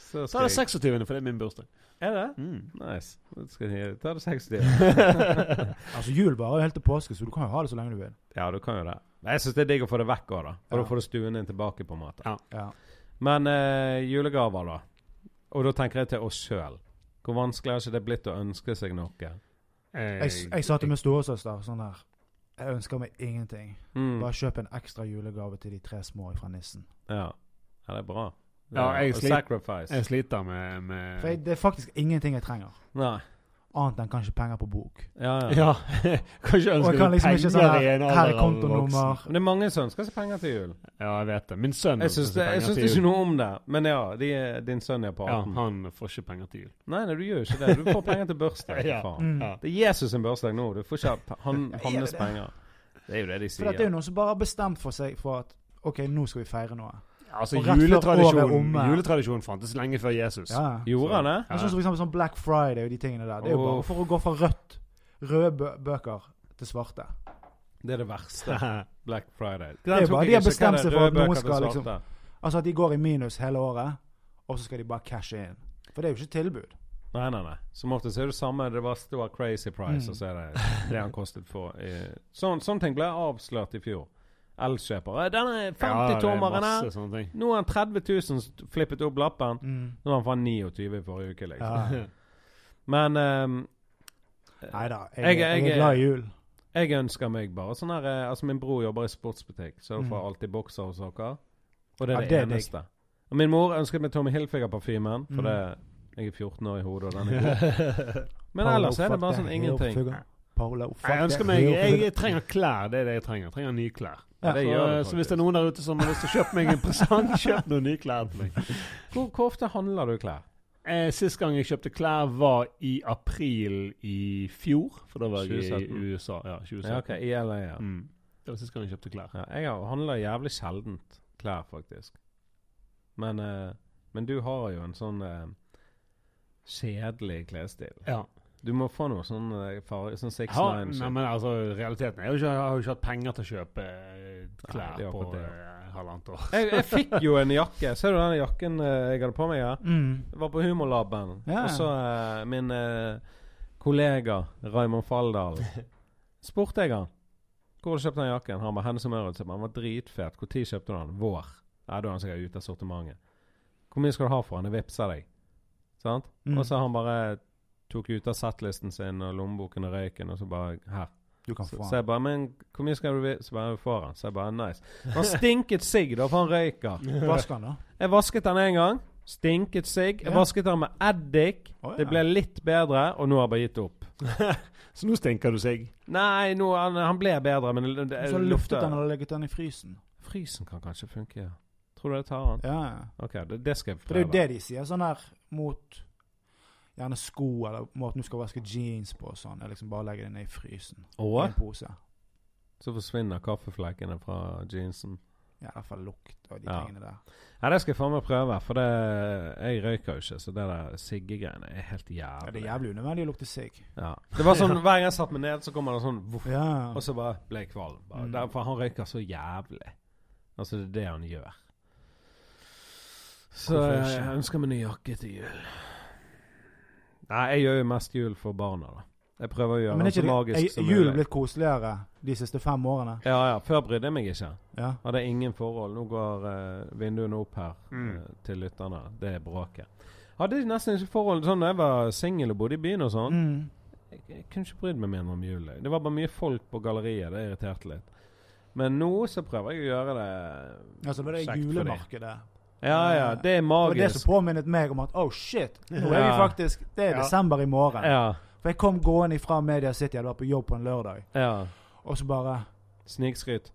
Speaker 1: Så
Speaker 3: Ta
Speaker 1: skal
Speaker 3: det
Speaker 1: jeg
Speaker 3: 26., for det er min bursdag.
Speaker 1: Er det?
Speaker 3: Mm.
Speaker 1: Nice. Da skal jeg ta det 60.
Speaker 2: Altså Jul varer jo helt til påske, så du kan jo ha det så lenge du vil.
Speaker 1: Ja, du kan jo det. Men Jeg syns det er digg å få det vekk òg, da. Og
Speaker 2: Ja.
Speaker 1: da får du stuen din tilbake, på en måte.
Speaker 2: Ja.
Speaker 1: Men eh, julegaver, da. Og da tenker jeg til oss sjøl. Hvor vanskelig har ikke det blitt å ønske seg noe?
Speaker 2: Jeg, jeg sa til min storesøster sånn der Jeg ønsker meg ingenting.
Speaker 1: Mm.
Speaker 2: Bare kjøp en ekstra julegave til de tre små fra nissen.
Speaker 1: Ja. ja, det er bra.
Speaker 3: Ja, jeg
Speaker 1: og
Speaker 3: slit-
Speaker 1: sacrifice.
Speaker 3: Jeg sliter med, med
Speaker 2: For jeg, det er faktisk ingenting jeg trenger.
Speaker 1: Nei.
Speaker 2: Annet enn kanskje penger på bok.
Speaker 1: Ja, ja.
Speaker 3: Ja. Kanskje
Speaker 2: Og
Speaker 3: ønsker
Speaker 2: jeg
Speaker 3: du
Speaker 2: kan liksom
Speaker 3: penger
Speaker 2: ikke sånn
Speaker 3: i
Speaker 2: her
Speaker 3: en
Speaker 2: Her er
Speaker 3: alder av en voksen.
Speaker 2: kontonummer.
Speaker 1: Men det er mange som ønsker seg penger til jul.
Speaker 3: Ja, jeg vet det. Min sønn
Speaker 1: Jeg syns
Speaker 3: ønsker
Speaker 1: det,
Speaker 3: seg
Speaker 1: jeg
Speaker 3: penger
Speaker 1: syns
Speaker 3: til
Speaker 1: det er
Speaker 3: jul.
Speaker 1: ikke noe om det. Men ja, de, din sønn er på
Speaker 3: Ja,
Speaker 1: 18.
Speaker 3: han får ikke penger til jul.
Speaker 1: Nei, nei, du gjør jo ikke det. Du får penger til bursdag.
Speaker 3: Ja.
Speaker 1: Faen.
Speaker 2: Mm.
Speaker 3: Ja.
Speaker 1: Det er Jesus sin bursdag nå. Du får ikke ha p- han,
Speaker 2: Ja, er
Speaker 1: hans
Speaker 2: det det?
Speaker 1: penger. Det er jo det de
Speaker 2: For det er
Speaker 1: sier.
Speaker 2: jo noen som bare har bestemt for seg for at OK, nå skal vi feire noe.
Speaker 3: Altså,
Speaker 2: Og rett før året er
Speaker 3: juletradisjonen
Speaker 2: omme.
Speaker 3: juletradisjonen fantes lenge før Jesus.
Speaker 2: Ja. ja.
Speaker 1: Gjorde han det?
Speaker 2: Men
Speaker 3: Altså,
Speaker 2: sånn som for eksempel sånn Black Friday og de tingene der. Det er jo
Speaker 1: Åh.
Speaker 2: bare for å gå fra rødt, røde bø bøker til svarte.
Speaker 1: Det er det verste. Black Friday. Den
Speaker 2: er
Speaker 1: tok
Speaker 2: bare-
Speaker 1: jeg
Speaker 2: de har
Speaker 1: ikke. Hva er
Speaker 2: bestemt
Speaker 1: det?
Speaker 2: seg for at
Speaker 1: Røde
Speaker 2: noen
Speaker 1: bøker til
Speaker 2: skal liksom-
Speaker 1: svarte?
Speaker 2: Altså at de går i minus hele året, og så skal de bare cashe inn. For det er jo ikke tilbud.
Speaker 1: Nei, nei, nei. Som oftest er det samme. Det bare står crazy price,
Speaker 2: Mm.
Speaker 1: og så er det det han kostet for eh, sånn, sånne ting ble avslørt i fjor. Elkjøpere. Denne
Speaker 3: Ja, det er
Speaker 1: 50-tommeren her!
Speaker 3: masse sånne ting.
Speaker 1: Nå er han 30 000 st- flippet opp lappen.
Speaker 2: Mm.
Speaker 1: Nå var han faen 29 i forrige uke, liksom.
Speaker 2: Ja.
Speaker 1: Men ehm,
Speaker 2: Nei da,
Speaker 1: Jeg-
Speaker 2: jeg, jeg,
Speaker 1: jeg-
Speaker 2: er glad i jul.
Speaker 1: jeg ønsker meg bare sånn her eh, Altså, min bror jobber i sportsbutikk, så
Speaker 2: Mm.
Speaker 1: jeg får alltid bokser hos dere. Og det
Speaker 2: Ja,
Speaker 1: er det
Speaker 2: det er digg.
Speaker 1: eneste. Og min mor ønsket meg Tommy Hilfiger-parfymen, for
Speaker 2: Mm.
Speaker 1: det jeg er 14 år i hodet, og den er god. Men ellers er det bare sånn ingenting.
Speaker 2: Paolo, fuck
Speaker 3: Jeg ønsker
Speaker 2: det.
Speaker 3: meg Jeg trenger klær. Det er det jeg trenger. Jeg trenger nye klær.
Speaker 1: Ja, det
Speaker 3: Så, eh,
Speaker 1: gjør du
Speaker 3: så hvis det er
Speaker 1: faktisk.
Speaker 3: noen der ute som har lyst til å kjøpe meg en presang, kjøp noen nye klær til meg.
Speaker 1: Hvor, hvor ofte handler du klær?
Speaker 3: Eh, sist gang jeg kjøpte klær, var i april i fjor. For da var jeg i
Speaker 1: 2017.
Speaker 3: USA. Ja, 2017.
Speaker 1: Ja, ok, i LA, ja.
Speaker 3: mm. Det var sist gang jeg kjøpte klær.
Speaker 1: ja jeg har- handler jævlig sjeldent klær, faktisk. Men, eh, men du har jo en sånn eh, kjedelig klesstil.
Speaker 3: Ja.
Speaker 1: Du må få noe sånn eh, farge, sånn
Speaker 3: Jeg har,
Speaker 1: 6-9.
Speaker 3: nei, men altså, realiteten er jo ikke Jeg har jo ikke hatt penger til å kjøpe eh, klær
Speaker 1: Nei, det er
Speaker 3: på
Speaker 1: akkurat det,
Speaker 3: eh, halvannet år.
Speaker 1: jeg, jeg fikk jo en jakke. Ser du den jakken eh, jeg hadde på meg her?
Speaker 2: Mm.
Speaker 1: Det var på Humorlaben.
Speaker 2: Ja.
Speaker 1: Og så eh, min eh, kollega Raymond Falldal spurte jeg han hvor har du kjøpte den jakken. Han var henne som øret. Han var dritfet. Når kjøpte du den? Vår. Nei, da er han sikkert ute av sortimentet. Hvor mye skal du ha for den? Jeg vippser deg. Sant?
Speaker 2: Mm.
Speaker 1: Og så han bare tok ut av settlisten sin og lommeboken og røyken, og så bare Her.
Speaker 2: Du kan
Speaker 1: Så,
Speaker 2: få
Speaker 1: så
Speaker 2: den.
Speaker 1: jeg bare Men hvor mye skal du vi-" Så bare "Du får han. Så jeg bare Nice. Han stinket sigg, da, for han røyker.
Speaker 2: Vask den, da.
Speaker 1: Jeg vasket den en gang. Stinket sigg. Jeg
Speaker 2: Ja.
Speaker 1: vasket den med eddik.
Speaker 2: Å, ja.
Speaker 1: Det ble litt bedre, og nå har jeg bare gitt opp.
Speaker 3: Så nå stinker du seg.
Speaker 1: Nei, nå, han, han ble bedre, men det, det,
Speaker 2: Så luftet den
Speaker 1: lukter-
Speaker 2: og legget den i frysen.
Speaker 1: Frysen kan kanskje funke. ja. Tror du det tar han?
Speaker 2: Ja, ja.
Speaker 1: Ok, det, det skal jeg
Speaker 2: For det er
Speaker 1: prøve.
Speaker 2: jo det de sier, sånn der mot gjerne sko, eller måten du skal vaske jeans på og sånn. er liksom bare legge det ned i frysen. I
Speaker 1: Og
Speaker 2: en pose.
Speaker 1: så forsvinner kaffeflekkene fra jeansen.
Speaker 2: Ja, I hvert fall lukt og de
Speaker 1: Ja.
Speaker 2: tingene der.
Speaker 1: Nei, det skal jeg faen meg prøve, for det, jeg røyker jo ikke, så det der siggegreiene er helt
Speaker 2: Ja,
Speaker 1: jævlig.
Speaker 2: det er jævlig unødvendig å lukte sigg.
Speaker 1: Ja. Det var sånn, Hver gang jeg satte meg ned, så kommer det sånn voff,
Speaker 2: Ja.
Speaker 1: Og så bare ble jeg kvalm. Bare,
Speaker 2: Mm.
Speaker 1: der- For han røyker så jævlig. Altså, det er det han gjør. Så
Speaker 2: Hvorfor
Speaker 1: jeg,
Speaker 2: ikke?
Speaker 1: jeg ønsker meg ny jakke til jul. Nei, jeg gjør jo mest jul for barna, da. Jeg prøver å gjøre
Speaker 2: Men er
Speaker 1: den så
Speaker 2: ikke
Speaker 1: altså
Speaker 2: det,
Speaker 1: magisk
Speaker 2: er
Speaker 1: som
Speaker 2: julen
Speaker 1: mulig.
Speaker 2: blitt koseligere de siste fem årene?
Speaker 1: Ja, ja. Før brydde jeg meg ikke.
Speaker 2: Ja.
Speaker 1: Hadde ingen forhold. Nå går eh, vinduene opp her
Speaker 3: Mm.
Speaker 1: eh, til lytterne. Det er bråket. Hadde nesten ikke forhold sånn da jeg var singel og bodde i byen og sånn.
Speaker 2: Mm.
Speaker 1: Jeg, jeg kunne ikke brydd meg mindre om jul. jeg. Det var bare mye folk på galleriet. Det irriterte litt. Men nå så prøver jeg å gjøre det
Speaker 2: Altså, det var det
Speaker 1: kjekt for de.
Speaker 2: julemarkedet.
Speaker 1: Ja, ja. Eh, Det er
Speaker 2: Det var det som
Speaker 1: magisk.
Speaker 2: påminnet meg om at oh shit, nå er vi
Speaker 1: Ja.
Speaker 2: faktisk Det er
Speaker 3: Ja.
Speaker 2: desember i morgen.
Speaker 1: Ja.
Speaker 2: For jeg kom gående ifra Media City, jeg var på jobb på en lørdag,
Speaker 1: ja.
Speaker 2: og så bare
Speaker 1: Snikskryt.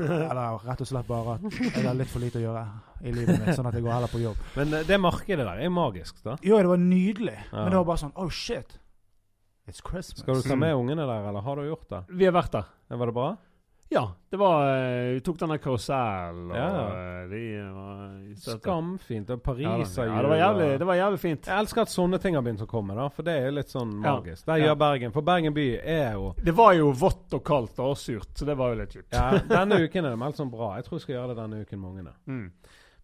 Speaker 2: Eller rett og slett bare at jeg har litt for lite å gjøre i livet mitt, sånn at jeg går heller på jobb.
Speaker 1: Men eh, det markedet der er magisk, da.
Speaker 2: Jo, det var nydelig,
Speaker 1: Ja.
Speaker 2: men det var bare sånn Oh shit. It's Christmas.
Speaker 1: Skal du ta med ungene der, eller har du gjort det?
Speaker 3: Vi har vært der.
Speaker 1: Var det bra?
Speaker 3: Ja. Det var eh, Vi tok denne karusellen og
Speaker 1: Ja.
Speaker 3: eh, de var i støtte.
Speaker 1: Skamfint. Og
Speaker 3: Ja,
Speaker 1: Paris
Speaker 3: da. ja, det var jævlig, det var jævlig fint.
Speaker 1: Jeg elsker at sånne ting har begynt å komme, da. For det er jo litt sånn
Speaker 3: Ja.
Speaker 1: magisk. Det
Speaker 3: Ja.
Speaker 1: gjør Bergen. For Bergen by er jo
Speaker 3: Det var jo vått og kaldt og surt, så det var jo litt kjipt.
Speaker 1: ja, Denne uken er det meldt som bra. Jeg tror jeg skal gjøre det denne uken med ungene.
Speaker 3: Mm.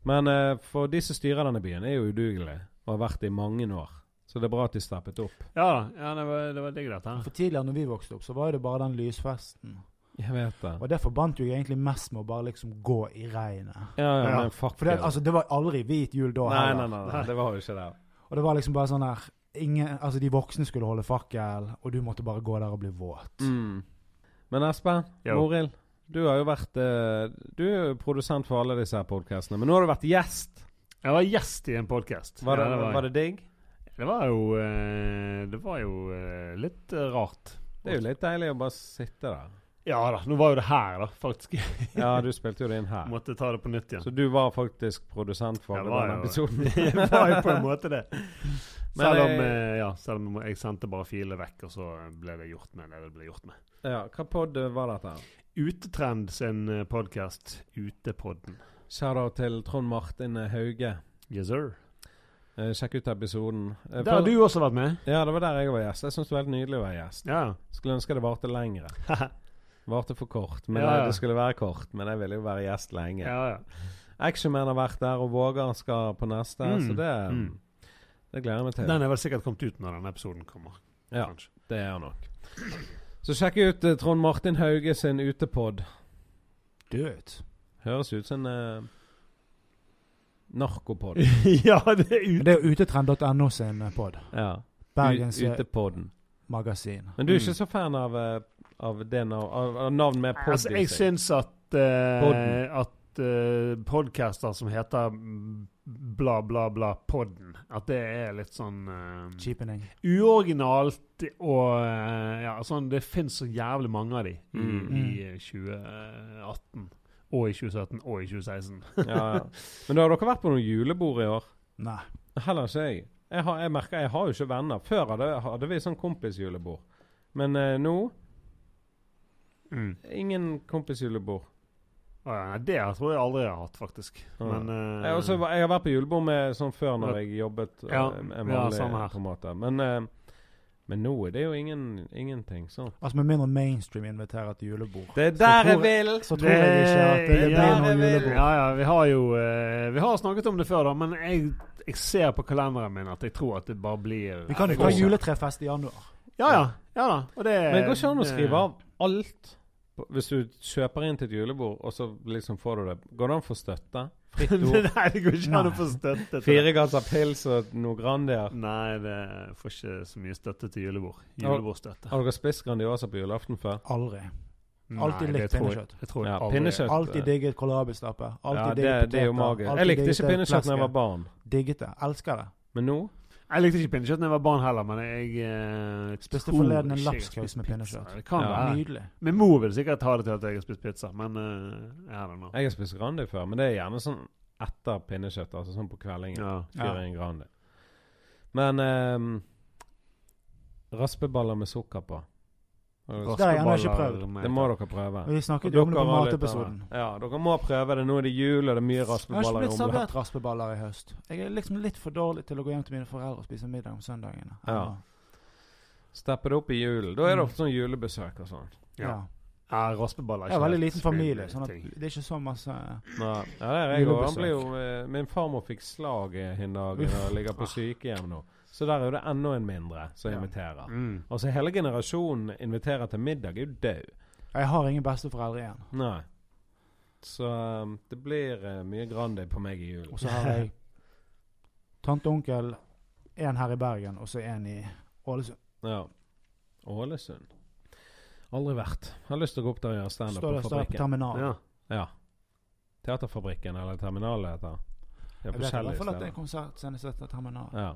Speaker 1: Men eh, for de som styrer denne byen, er jo udugelige og har vært det i mange år. Så det er bra at de steppet opp.
Speaker 3: Ja da. Ja, det var, det var digg, dette. her.
Speaker 2: For tidligere når vi vokste opp, så var jo det bare den lysfesten.
Speaker 1: Jeg vet det.
Speaker 2: Og det forbandt jo jeg egentlig mest med å bare liksom gå i regnet.
Speaker 1: Ja, ja,
Speaker 3: Ja.
Speaker 1: men fuck
Speaker 2: For det,
Speaker 1: it.
Speaker 2: altså, det var aldri hvit jul da
Speaker 1: nei, nei,
Speaker 2: heller.
Speaker 1: nei, nei, det var jo ikke det.
Speaker 2: Og det var liksom bare sånn der ingen, Altså, de voksne skulle holde fakkel, og du måtte bare gå der og bli våt.
Speaker 1: Mm. Men Espen,
Speaker 3: Jo.
Speaker 1: Morild, du har jo vært eh, Du er jo produsent for alle disse her podkastene, men nå har du vært gjest.
Speaker 3: Jeg var gjest i en podkast.
Speaker 1: Var det,
Speaker 3: ja, det,
Speaker 1: var det digg?
Speaker 3: det var jo eh, Det var jo eh, litt eh, rart.
Speaker 1: Det er jo litt deilig å bare sitte der.
Speaker 3: Ja da. Nå var jo det her, da, faktisk.
Speaker 1: Ja, du spilte jo det inn her.
Speaker 3: Måtte ta det på nytt igjen.
Speaker 1: Så du var faktisk produsent for
Speaker 3: Jeg
Speaker 1: denne
Speaker 3: var jo-
Speaker 1: episoden?
Speaker 3: det var jo på en måte det.
Speaker 1: Men
Speaker 3: Selv om,
Speaker 1: jeg-
Speaker 3: eh, ja, selv om jeg sendte bare filene vekk, og så ble det gjort med det det ble gjort med.
Speaker 1: Ja, hva pod var dette?
Speaker 3: Utetrend sin podkast Utepodden.
Speaker 1: Shout-out til Trond Martin Hauge.
Speaker 3: Yes, sir.
Speaker 1: Eh, sjekk ut episoden. Eh,
Speaker 3: Der har
Speaker 1: for-
Speaker 3: du også vært med.
Speaker 1: Ja, det var der jeg var gjest. Jeg syns det var helt nydelig å være gjest.
Speaker 3: Ja.
Speaker 1: Skulle ønske det varte lengre. Varte for kort. Men
Speaker 3: Ja, ja.
Speaker 1: eh, det skulle være kort. Men jeg ville jo være gjest lenge.
Speaker 3: ja, ja.
Speaker 1: Actionman har vært der, og Vågar skal på neste,
Speaker 3: Mm,
Speaker 1: så det
Speaker 3: mm.
Speaker 1: Det gleder jeg meg til.
Speaker 3: Den er vel sikkert kommet ut når den episoden kommer.
Speaker 1: Ja.
Speaker 3: kanskje.
Speaker 1: Det er han nok. Så sjekk ut eh, Trond Martin Hauge sin utepod.
Speaker 2: Død.
Speaker 1: Høres ut som en eh, narkopod.
Speaker 3: ja, det er
Speaker 2: Men
Speaker 3: ut...
Speaker 2: det er jo utetrend.no sin pod.
Speaker 1: Ja.
Speaker 2: Bergens eh,
Speaker 1: Utepodden.
Speaker 2: magasin.
Speaker 1: Men du er ikke
Speaker 3: Mm.
Speaker 1: så fan av, eh, av det nav av, av navn med pod
Speaker 3: Altså, jeg syns at,
Speaker 1: Podden.
Speaker 3: uh, at eh, podcaster som heter mm, bla, bla, bla, podden, at det er litt sånn eh,
Speaker 2: Cheapening.
Speaker 3: uoriginalt og eh, ja, sånn Det fins så jævlig mange av de i,
Speaker 1: Mm.
Speaker 3: i eh, 2018. Og i 2017 og i 2016.
Speaker 1: ja, ja. Men da har dere vært på noe julebord i år?
Speaker 2: Nei.
Speaker 1: Heller ikke jeg. Jeg, har, jeg merker jeg har jo ikke venner. Før hadde, hadde vi sånn kompisjulebord. Men eh, nå
Speaker 3: Mm.
Speaker 1: ingen kompisjulebord.
Speaker 3: Å ja, nei, eh, det tror jeg aldri jeg har hatt, faktisk.
Speaker 1: Ja.
Speaker 3: Men eh,
Speaker 1: Jeg, også, var- jeg har vært på julebord med sånn før når jeg jobbet eh,
Speaker 3: Ja,
Speaker 1: en
Speaker 3: ja,
Speaker 1: vanlig,
Speaker 3: samme her.
Speaker 1: på en måte. Men, eh, men nå er det jo ingen, ingenting sånn.
Speaker 2: Altså, med mindre mainstream inviterer til julebord.
Speaker 1: Det er
Speaker 2: der jeg
Speaker 1: vil!
Speaker 2: Så tror jeg ikke at det,
Speaker 1: Det-
Speaker 2: blir
Speaker 1: Ja, det
Speaker 2: noe
Speaker 1: vil-
Speaker 2: julebord.
Speaker 3: Ja, ja, vi har jo eh, Vi har snakket om det før, da, men jeg, jeg ser på kalenderen min at jeg tror at det bare blir
Speaker 2: Vi kan jo
Speaker 1: det går
Speaker 2: ta
Speaker 1: ikke.
Speaker 2: juletrefest i januar.
Speaker 3: Ja, ja. ja da. Og det,
Speaker 1: Men det går ikke an å
Speaker 3: Eh,
Speaker 1: skrive av alt på- hvis du kjøper inn til et julebord, og så liksom får du det. Går det an å få støtte? Fritt ord.
Speaker 3: Nei, det går ikke an å
Speaker 2: Nei.
Speaker 3: få støtte til det.
Speaker 1: Fire gasser pils og noe Grandier.
Speaker 3: Nei, det får ikke så mye støtte til julebord.
Speaker 1: Har-
Speaker 3: Julebordstøtte.
Speaker 1: Har dere spist Grandiosa på julaften før?
Speaker 2: Aldri.
Speaker 3: Nei,
Speaker 2: alltid
Speaker 3: det
Speaker 2: likt
Speaker 3: tror jeg-
Speaker 2: pinnekjøtt.
Speaker 3: Jeg tror jeg
Speaker 1: Ja,
Speaker 3: aldri-
Speaker 1: pinnekjøtt.
Speaker 2: Alltid digget kålrabistappe.
Speaker 1: eh. Ja,
Speaker 2: Alltid
Speaker 1: det,
Speaker 2: digget poteter.
Speaker 1: det er jo magisk.
Speaker 2: alltid
Speaker 1: Jeg likte
Speaker 2: digget
Speaker 1: ikke pinnekjøtt da jeg var
Speaker 2: fleske.
Speaker 1: barn,
Speaker 2: Digget det. Elsket det.
Speaker 1: men nå
Speaker 3: Jeg likte ikke pinnekjøtt da jeg var barn heller, men jeg eh,
Speaker 2: Spiste
Speaker 3: tror
Speaker 2: forleden en
Speaker 3: ikke jeg har
Speaker 2: lapskaus
Speaker 3: spist
Speaker 2: med
Speaker 3: pizza.
Speaker 2: pinnekjøtt.
Speaker 3: Det kan
Speaker 1: Ja.
Speaker 3: være.
Speaker 2: Nydelig.
Speaker 3: Min mor vil sikkert ha det til at jeg har spist pizza, men eh, jeg har det nå.
Speaker 1: Jeg har spist Grandi før, men det er gjerne sånn etter pinnekjøtt. Altså sånn på kveldingen.
Speaker 3: Ja.
Speaker 1: Fyrer i en Grandi. Men ehm, raspeballer med sukker på. Har dere-
Speaker 2: Det har jeg ennå ikke
Speaker 3: Raskeballer
Speaker 2: prøvd.
Speaker 3: med-
Speaker 1: Det må dere prøve.
Speaker 2: Og Vi snakket jo
Speaker 1: Dere
Speaker 2: om det på
Speaker 1: har litt av
Speaker 2: matepisoden.
Speaker 1: det. Ja, dere må prøve det. Nå er det jul, og det er mye
Speaker 2: Jeg har ikke
Speaker 1: raspeballer i
Speaker 2: blitt
Speaker 1: omløp.
Speaker 2: servert raspeballer i høst. Jeg er liksom litt for dårlig til å gå hjem til mine foreldre og spise middag om søndagene.
Speaker 1: Ja. Steppe det opp i julen. Da er det ofte sånn julebesøk og sånn.
Speaker 3: Ja.
Speaker 2: ja.
Speaker 3: Ja, raspeballer er
Speaker 2: Jeg har veldig
Speaker 3: helt
Speaker 2: liten familie,
Speaker 3: min
Speaker 2: sånn at
Speaker 3: ting.
Speaker 2: det er ikke så masse
Speaker 1: Ja, ja det er jeg òg. Han
Speaker 2: Julebesøk.
Speaker 1: ble jo eh, Min farmor fikk slag eh, en dag
Speaker 2: Uff.
Speaker 1: og ligger på sykehjem nå. Så der er jo det enda en mindre som
Speaker 2: Ja.
Speaker 1: inviterer.
Speaker 3: Mm.
Speaker 1: Altså hele generasjonen inviterer til middag, er jo død.
Speaker 2: Jeg har ingen besteforeldre igjen.
Speaker 1: Nei. Så eh, det blir eh, mye Grandi på meg i
Speaker 2: Og
Speaker 1: julen.
Speaker 2: så har jeg tante og onkel, én her i Bergen og så én i Ålesund.
Speaker 1: Ja. Ålesund. Aldri vært. Har lyst til å gå opp der og gjøre standup
Speaker 2: Står
Speaker 1: på
Speaker 2: det står det på
Speaker 1: Fabrikken.
Speaker 2: terminalen.
Speaker 3: Ja.
Speaker 1: Ja. Teaterfabrikken, eller Terminalet heter det. Det er
Speaker 2: Jeg vet i
Speaker 1: forskjellige
Speaker 2: hvert fall at det er
Speaker 1: steder.
Speaker 2: konsert senest etter terminalen.
Speaker 1: Ja.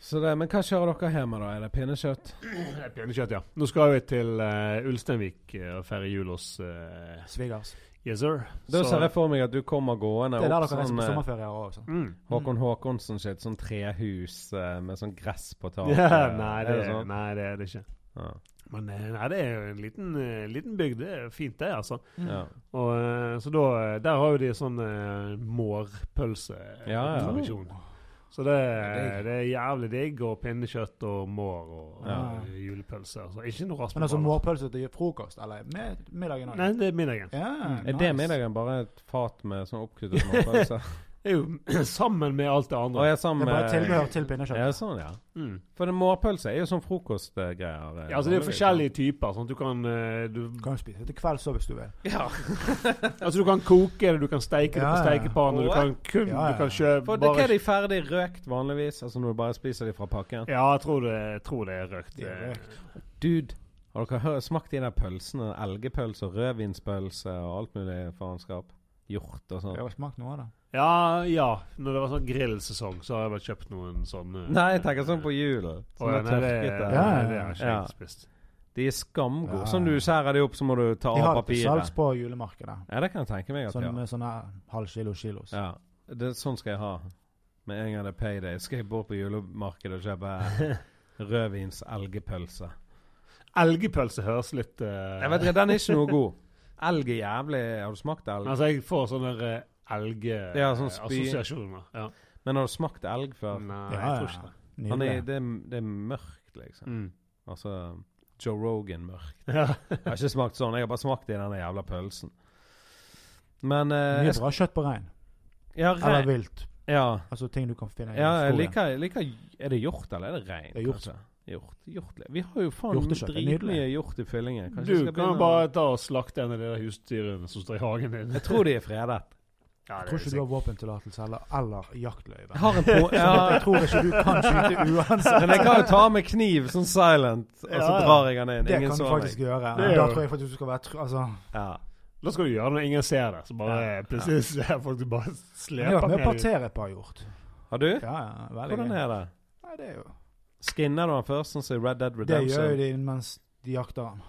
Speaker 1: Så det, men hva kjører dere hjemme, da? Er det pinnekjøtt?
Speaker 3: Det er Pinnekjøtt, ja. Nå skal vi til eh, Ulsteinvik eh, og feire jul hos eh,
Speaker 2: Svigers.
Speaker 3: Yes Sir.
Speaker 1: Da
Speaker 3: Så-
Speaker 1: ser jeg for meg at du kommer gående
Speaker 2: Det er der
Speaker 1: opp
Speaker 2: dere reiser
Speaker 1: sånn
Speaker 2: på
Speaker 1: eh,
Speaker 2: sommerferie òg, sant?
Speaker 3: Mm.
Speaker 1: Håkon Håkonsen sitt sånn trehus eh, med sånn gress på taket.
Speaker 3: Ja, nei, det,
Speaker 1: Er sånn?
Speaker 3: nei, det er det ikke.
Speaker 1: Ja.
Speaker 3: Men eh, nei, det er jo en liten, eh, liten bygd. Det er fint, det, altså.
Speaker 2: Mm.
Speaker 1: Ja.
Speaker 3: Og, eh, så da, eh, der har jo de sånn eh,
Speaker 1: Ja, ja.
Speaker 2: Mm.
Speaker 3: mårpølsetradisjon. Så det,
Speaker 2: Det er digg.
Speaker 3: det er jævlig digg, og pinnekjøtt og mår og
Speaker 1: Ja.
Speaker 3: eh, julepølse. Altså. Ikke noe
Speaker 2: Men altså
Speaker 3: raspeballer.
Speaker 2: mårpølse til frokost, eller med middagen òg?
Speaker 3: Nei, det er middagen.
Speaker 2: Ja,
Speaker 1: Er det
Speaker 2: nice.
Speaker 1: middagen bare et fat med sånn oppkuttet småpølse?
Speaker 3: Det er jo sammen med alt det
Speaker 1: Og
Speaker 3: andre.
Speaker 1: jeg er
Speaker 2: Det
Speaker 1: sammen
Speaker 2: er bare
Speaker 1: med
Speaker 2: tilbehør til
Speaker 1: Ja,
Speaker 2: pinnekjøtt.
Speaker 1: sånn, ja.
Speaker 3: Mm.
Speaker 1: For det mårpølse er jo sånn frokostgreier. eh,
Speaker 3: Ja, altså Det er jo
Speaker 1: vanligvis.
Speaker 3: forskjellige typer. Sånn at du kan eh, du,
Speaker 2: Du kan jo spise til kvelds òg, hvis du vil.
Speaker 1: Ja.
Speaker 3: Altså du kan koke det, du kan steike det
Speaker 2: Ja, ja.
Speaker 3: på stekepannen, og du kan kun
Speaker 2: Ja, ja.
Speaker 3: Du kan kjøpe
Speaker 1: For det, hva er de ferdig røkt vanligvis? Altså når du bare spiser de fra pakken?
Speaker 3: Ja, jeg tror det, jeg tror det er røkt.
Speaker 2: Det er
Speaker 3: eh,
Speaker 1: Dude, har dere hø- smakt de der pølsene? Elgepølse og rødvinspølse og alt mulig faenskap? Hjort og sånn.
Speaker 2: Jeg har smakt noe av det.
Speaker 3: Ja, ja. Når det var sånn grillsesong, så har jeg vel kjøpt noen sånne
Speaker 1: Nei, jeg tenker sånn på julen.
Speaker 3: Å,
Speaker 1: Sånn
Speaker 3: ja,
Speaker 1: er
Speaker 3: nei, det,
Speaker 1: tørket der.
Speaker 3: ja,
Speaker 2: Ja, ja,
Speaker 3: det har ikke jeg
Speaker 1: ja.
Speaker 3: spist.
Speaker 1: De er skamgode.
Speaker 2: Ja.
Speaker 1: Sånn du skjærer de opp, så må du ta
Speaker 2: De
Speaker 1: av
Speaker 2: har det til salgs
Speaker 1: papiret.
Speaker 2: på julemarkedet.
Speaker 1: Ja, det kan jeg tenke meg at
Speaker 2: Sånn
Speaker 1: de har.
Speaker 2: med sånne halv kilo kilos.
Speaker 1: Ja. Det, sånn skal jeg ha. Med en gang det er payday, skal jeg bort på julemarkedet og kjøpe rødvins elgepølse.
Speaker 3: Elgpølse høres litt eh,
Speaker 1: Jeg vet ikke, Den er ikke noe god. Elg er jævlig Har du smakt elg?
Speaker 3: Altså, jeg får sånne eh, elge...
Speaker 1: Ja, sånn
Speaker 3: eh,
Speaker 1: spy-
Speaker 3: assosiasjoner. Ja.
Speaker 1: Men har du smakt elg før?
Speaker 3: Nei,
Speaker 2: Ja,
Speaker 3: jeg
Speaker 2: ja.
Speaker 3: tror ikke det.
Speaker 1: Han er,
Speaker 2: Nydelig.
Speaker 1: det, er, det er mørkt, liksom.
Speaker 3: Mm.
Speaker 1: Altså Joe Rogan-mørkt.
Speaker 3: Ja.
Speaker 1: Jeg har ikke smakt sånn. Jeg har bare smakt i den jævla pølsen. Men eh,
Speaker 2: Mye
Speaker 1: jeg,
Speaker 2: bra kjøtt på rein.
Speaker 1: sk- ja,
Speaker 2: Eller
Speaker 1: re,
Speaker 2: vilt.
Speaker 1: ja,
Speaker 2: Altså ting du kan finne i
Speaker 1: Ja, jeg
Speaker 2: skogen.
Speaker 1: liker, jeg liker Er det hjort, eller er det rein?
Speaker 2: Det er hjort.
Speaker 1: kanskje? Hjort, hjort. Vi har jo faen
Speaker 2: Hjortekjøtt er
Speaker 1: dritmye
Speaker 2: nydelig.
Speaker 1: hjort i fyllingen. Kanskje
Speaker 3: Du
Speaker 1: jeg skal
Speaker 3: kan jo
Speaker 1: begynne å-
Speaker 3: bare ta og slakte en av de der husdyrene som står i hagen din.
Speaker 1: Jeg tror de er fredet.
Speaker 3: Ja,
Speaker 2: Jeg
Speaker 3: det er
Speaker 2: tror ikke du
Speaker 3: sikkert.
Speaker 2: har våpentillatelse eller, eller jaktløyve.
Speaker 1: Jeg har en på...
Speaker 2: Sånn at
Speaker 1: Ja,
Speaker 2: jeg tror ikke du kan skyte uansett.
Speaker 1: men jeg kan jo ta med kniv, sånn silent, og så
Speaker 3: Ja, ja.
Speaker 1: drar jeg den inn.
Speaker 2: Det
Speaker 1: Ingen
Speaker 2: kan du
Speaker 1: så
Speaker 2: faktisk
Speaker 1: meg.
Speaker 2: gjøre.
Speaker 3: Det
Speaker 2: Da
Speaker 3: er jo-
Speaker 2: tror jeg faktisk du skal være tr altså,
Speaker 1: Ja.
Speaker 3: Da skal du gjøre det når ingen ser det. Så bare plutselig ser folk du bare
Speaker 2: Jeg har
Speaker 3: sleper
Speaker 2: vært med å
Speaker 3: ned i-
Speaker 2: partere et par hjort.
Speaker 1: Har du?
Speaker 2: Ja, ja, veldig
Speaker 1: Hvordan
Speaker 2: gøy.
Speaker 1: er det?
Speaker 2: Nei, det, er jo.
Speaker 1: Skinner du den først, sånn som i Red Dead
Speaker 2: det gjør jo
Speaker 1: Redemption?
Speaker 2: de mens de jakter han.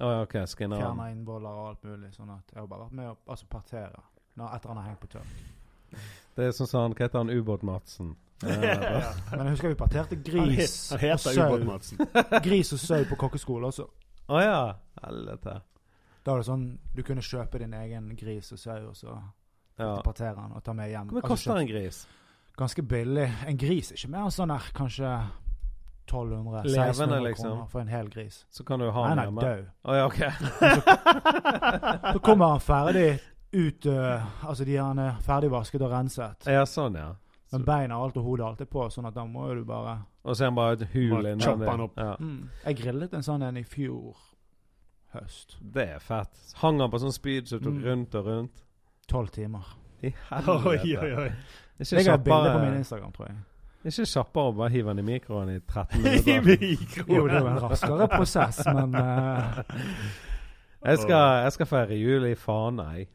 Speaker 1: Å ja, ok. Skinner den.
Speaker 2: Fjerner innvoller og alt mulig. Sånn at jeg har bare vært med å altså, partere når etter han har hengt på tørk.
Speaker 1: Det er sånn som han Hva heter han Ubåt-Madsen? Eh,
Speaker 3: Ja.
Speaker 2: Men jeg husker vi parterte
Speaker 3: Han
Speaker 2: gris
Speaker 3: he- Han
Speaker 2: og
Speaker 3: heter Ubåt
Speaker 2: sau.
Speaker 3: Madsen.
Speaker 2: Gris og sau på kokkeskolen også.
Speaker 1: Å ja. Helvete.
Speaker 2: Da var det sånn du kunne kjøpe din egen gris og sau, og så
Speaker 1: Ja.
Speaker 2: partere den og ta med hjem.
Speaker 1: Hvor mye
Speaker 2: Altså,
Speaker 1: koster
Speaker 2: kjøpt-
Speaker 1: en gris?
Speaker 2: Ganske billig. En gris ikke mer enn sånn her, kanskje 1200
Speaker 1: Levende,
Speaker 2: 1600
Speaker 1: liksom.
Speaker 2: kroner for en hel gris.
Speaker 1: Så kan du ha
Speaker 2: Nei,
Speaker 1: den hjemme.
Speaker 2: nei, død.
Speaker 1: Å ja, ok.
Speaker 2: Så kommer han ferdig ut øh, Altså, de han er ferdig vasket og renset.
Speaker 1: Ja, sånn, ja.
Speaker 2: Men beina og alt og hodet og alt er på, sånn at da må jo du bare
Speaker 1: Og så er han bare et hul
Speaker 3: Bare
Speaker 1: inni
Speaker 3: chopper
Speaker 1: det.
Speaker 3: han opp.
Speaker 1: Ja.
Speaker 2: Mm. Jeg grillet en sånn en i fjor høst.
Speaker 1: Det er fett. Hang han på sånn spyd som tok
Speaker 2: Mm.
Speaker 1: rundt og rundt?
Speaker 2: Tolv timer.
Speaker 1: I
Speaker 3: Oi,
Speaker 1: helvete.
Speaker 3: oi, oi.
Speaker 1: Ikke
Speaker 2: Jeg har et bilde på min
Speaker 1: kjappere
Speaker 2: Instagram, tror jeg.
Speaker 1: Ikke kjappere å bare hive den i mikroen i 13
Speaker 3: I
Speaker 1: minutter.
Speaker 2: Jo, det er jo
Speaker 3: mikroen.
Speaker 2: en raskere prosess, men eh,
Speaker 1: Jeg skal, jeg skal feire jul i Fana, jeg.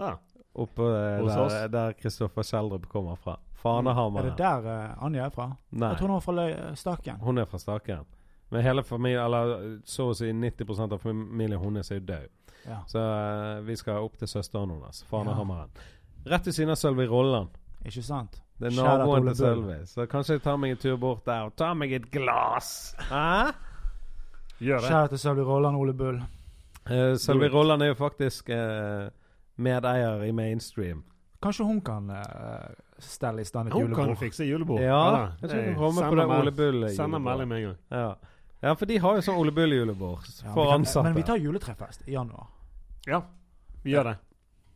Speaker 3: Ah,
Speaker 1: Oppe eh,
Speaker 3: Hos
Speaker 1: der-
Speaker 3: oss?
Speaker 1: der Kristoffer Kjeldrup kommer fra.
Speaker 2: er
Speaker 1: Fanahammeren.
Speaker 2: det der eh, Anja er fra?
Speaker 1: Nei,
Speaker 2: Jeg tror hun er fra Løy- Staken.
Speaker 1: hun er fra Staken. Men hele familien, eller så å si 90 av familien hennes er jo død.
Speaker 2: Ja,
Speaker 1: Så eh, vi skal opp til søsteren hennes, Fanahammeren. Rett ved siden av Sølvi Rolland.
Speaker 2: ikke sant?
Speaker 1: Det er
Speaker 2: Shout out
Speaker 1: naboen
Speaker 2: Ole
Speaker 1: til Sølvi. Så kanskje jeg tar meg en tur bort der og tar meg et glass. Hæ?
Speaker 3: gjør det.
Speaker 2: Kjære til Sølvi Rolland Ole Bull.
Speaker 1: Eh, Sølvi
Speaker 3: Lurt.
Speaker 1: Rolland er jo faktisk eh, medeier i mainstream.
Speaker 2: Kanskje hun kan eh, stelle i stand et
Speaker 3: Hun kan
Speaker 2: julebord?
Speaker 3: fikse julebord.
Speaker 1: Ja, jeg
Speaker 3: da.
Speaker 1: tror du
Speaker 2: Eh,
Speaker 3: Hey,
Speaker 1: kan komme
Speaker 3: send
Speaker 1: på det
Speaker 3: meg-
Speaker 1: Ole Bull.
Speaker 3: Send meg
Speaker 1: julebordet.
Speaker 3: melding med en gang.
Speaker 1: Ja. ja, for de har jo sånn Ole Bull-julebord
Speaker 2: Ja, vi
Speaker 1: for
Speaker 2: kan-
Speaker 1: ansatte.
Speaker 2: Men vi tar juletrefest i januar.
Speaker 3: Ja, vi gjør det.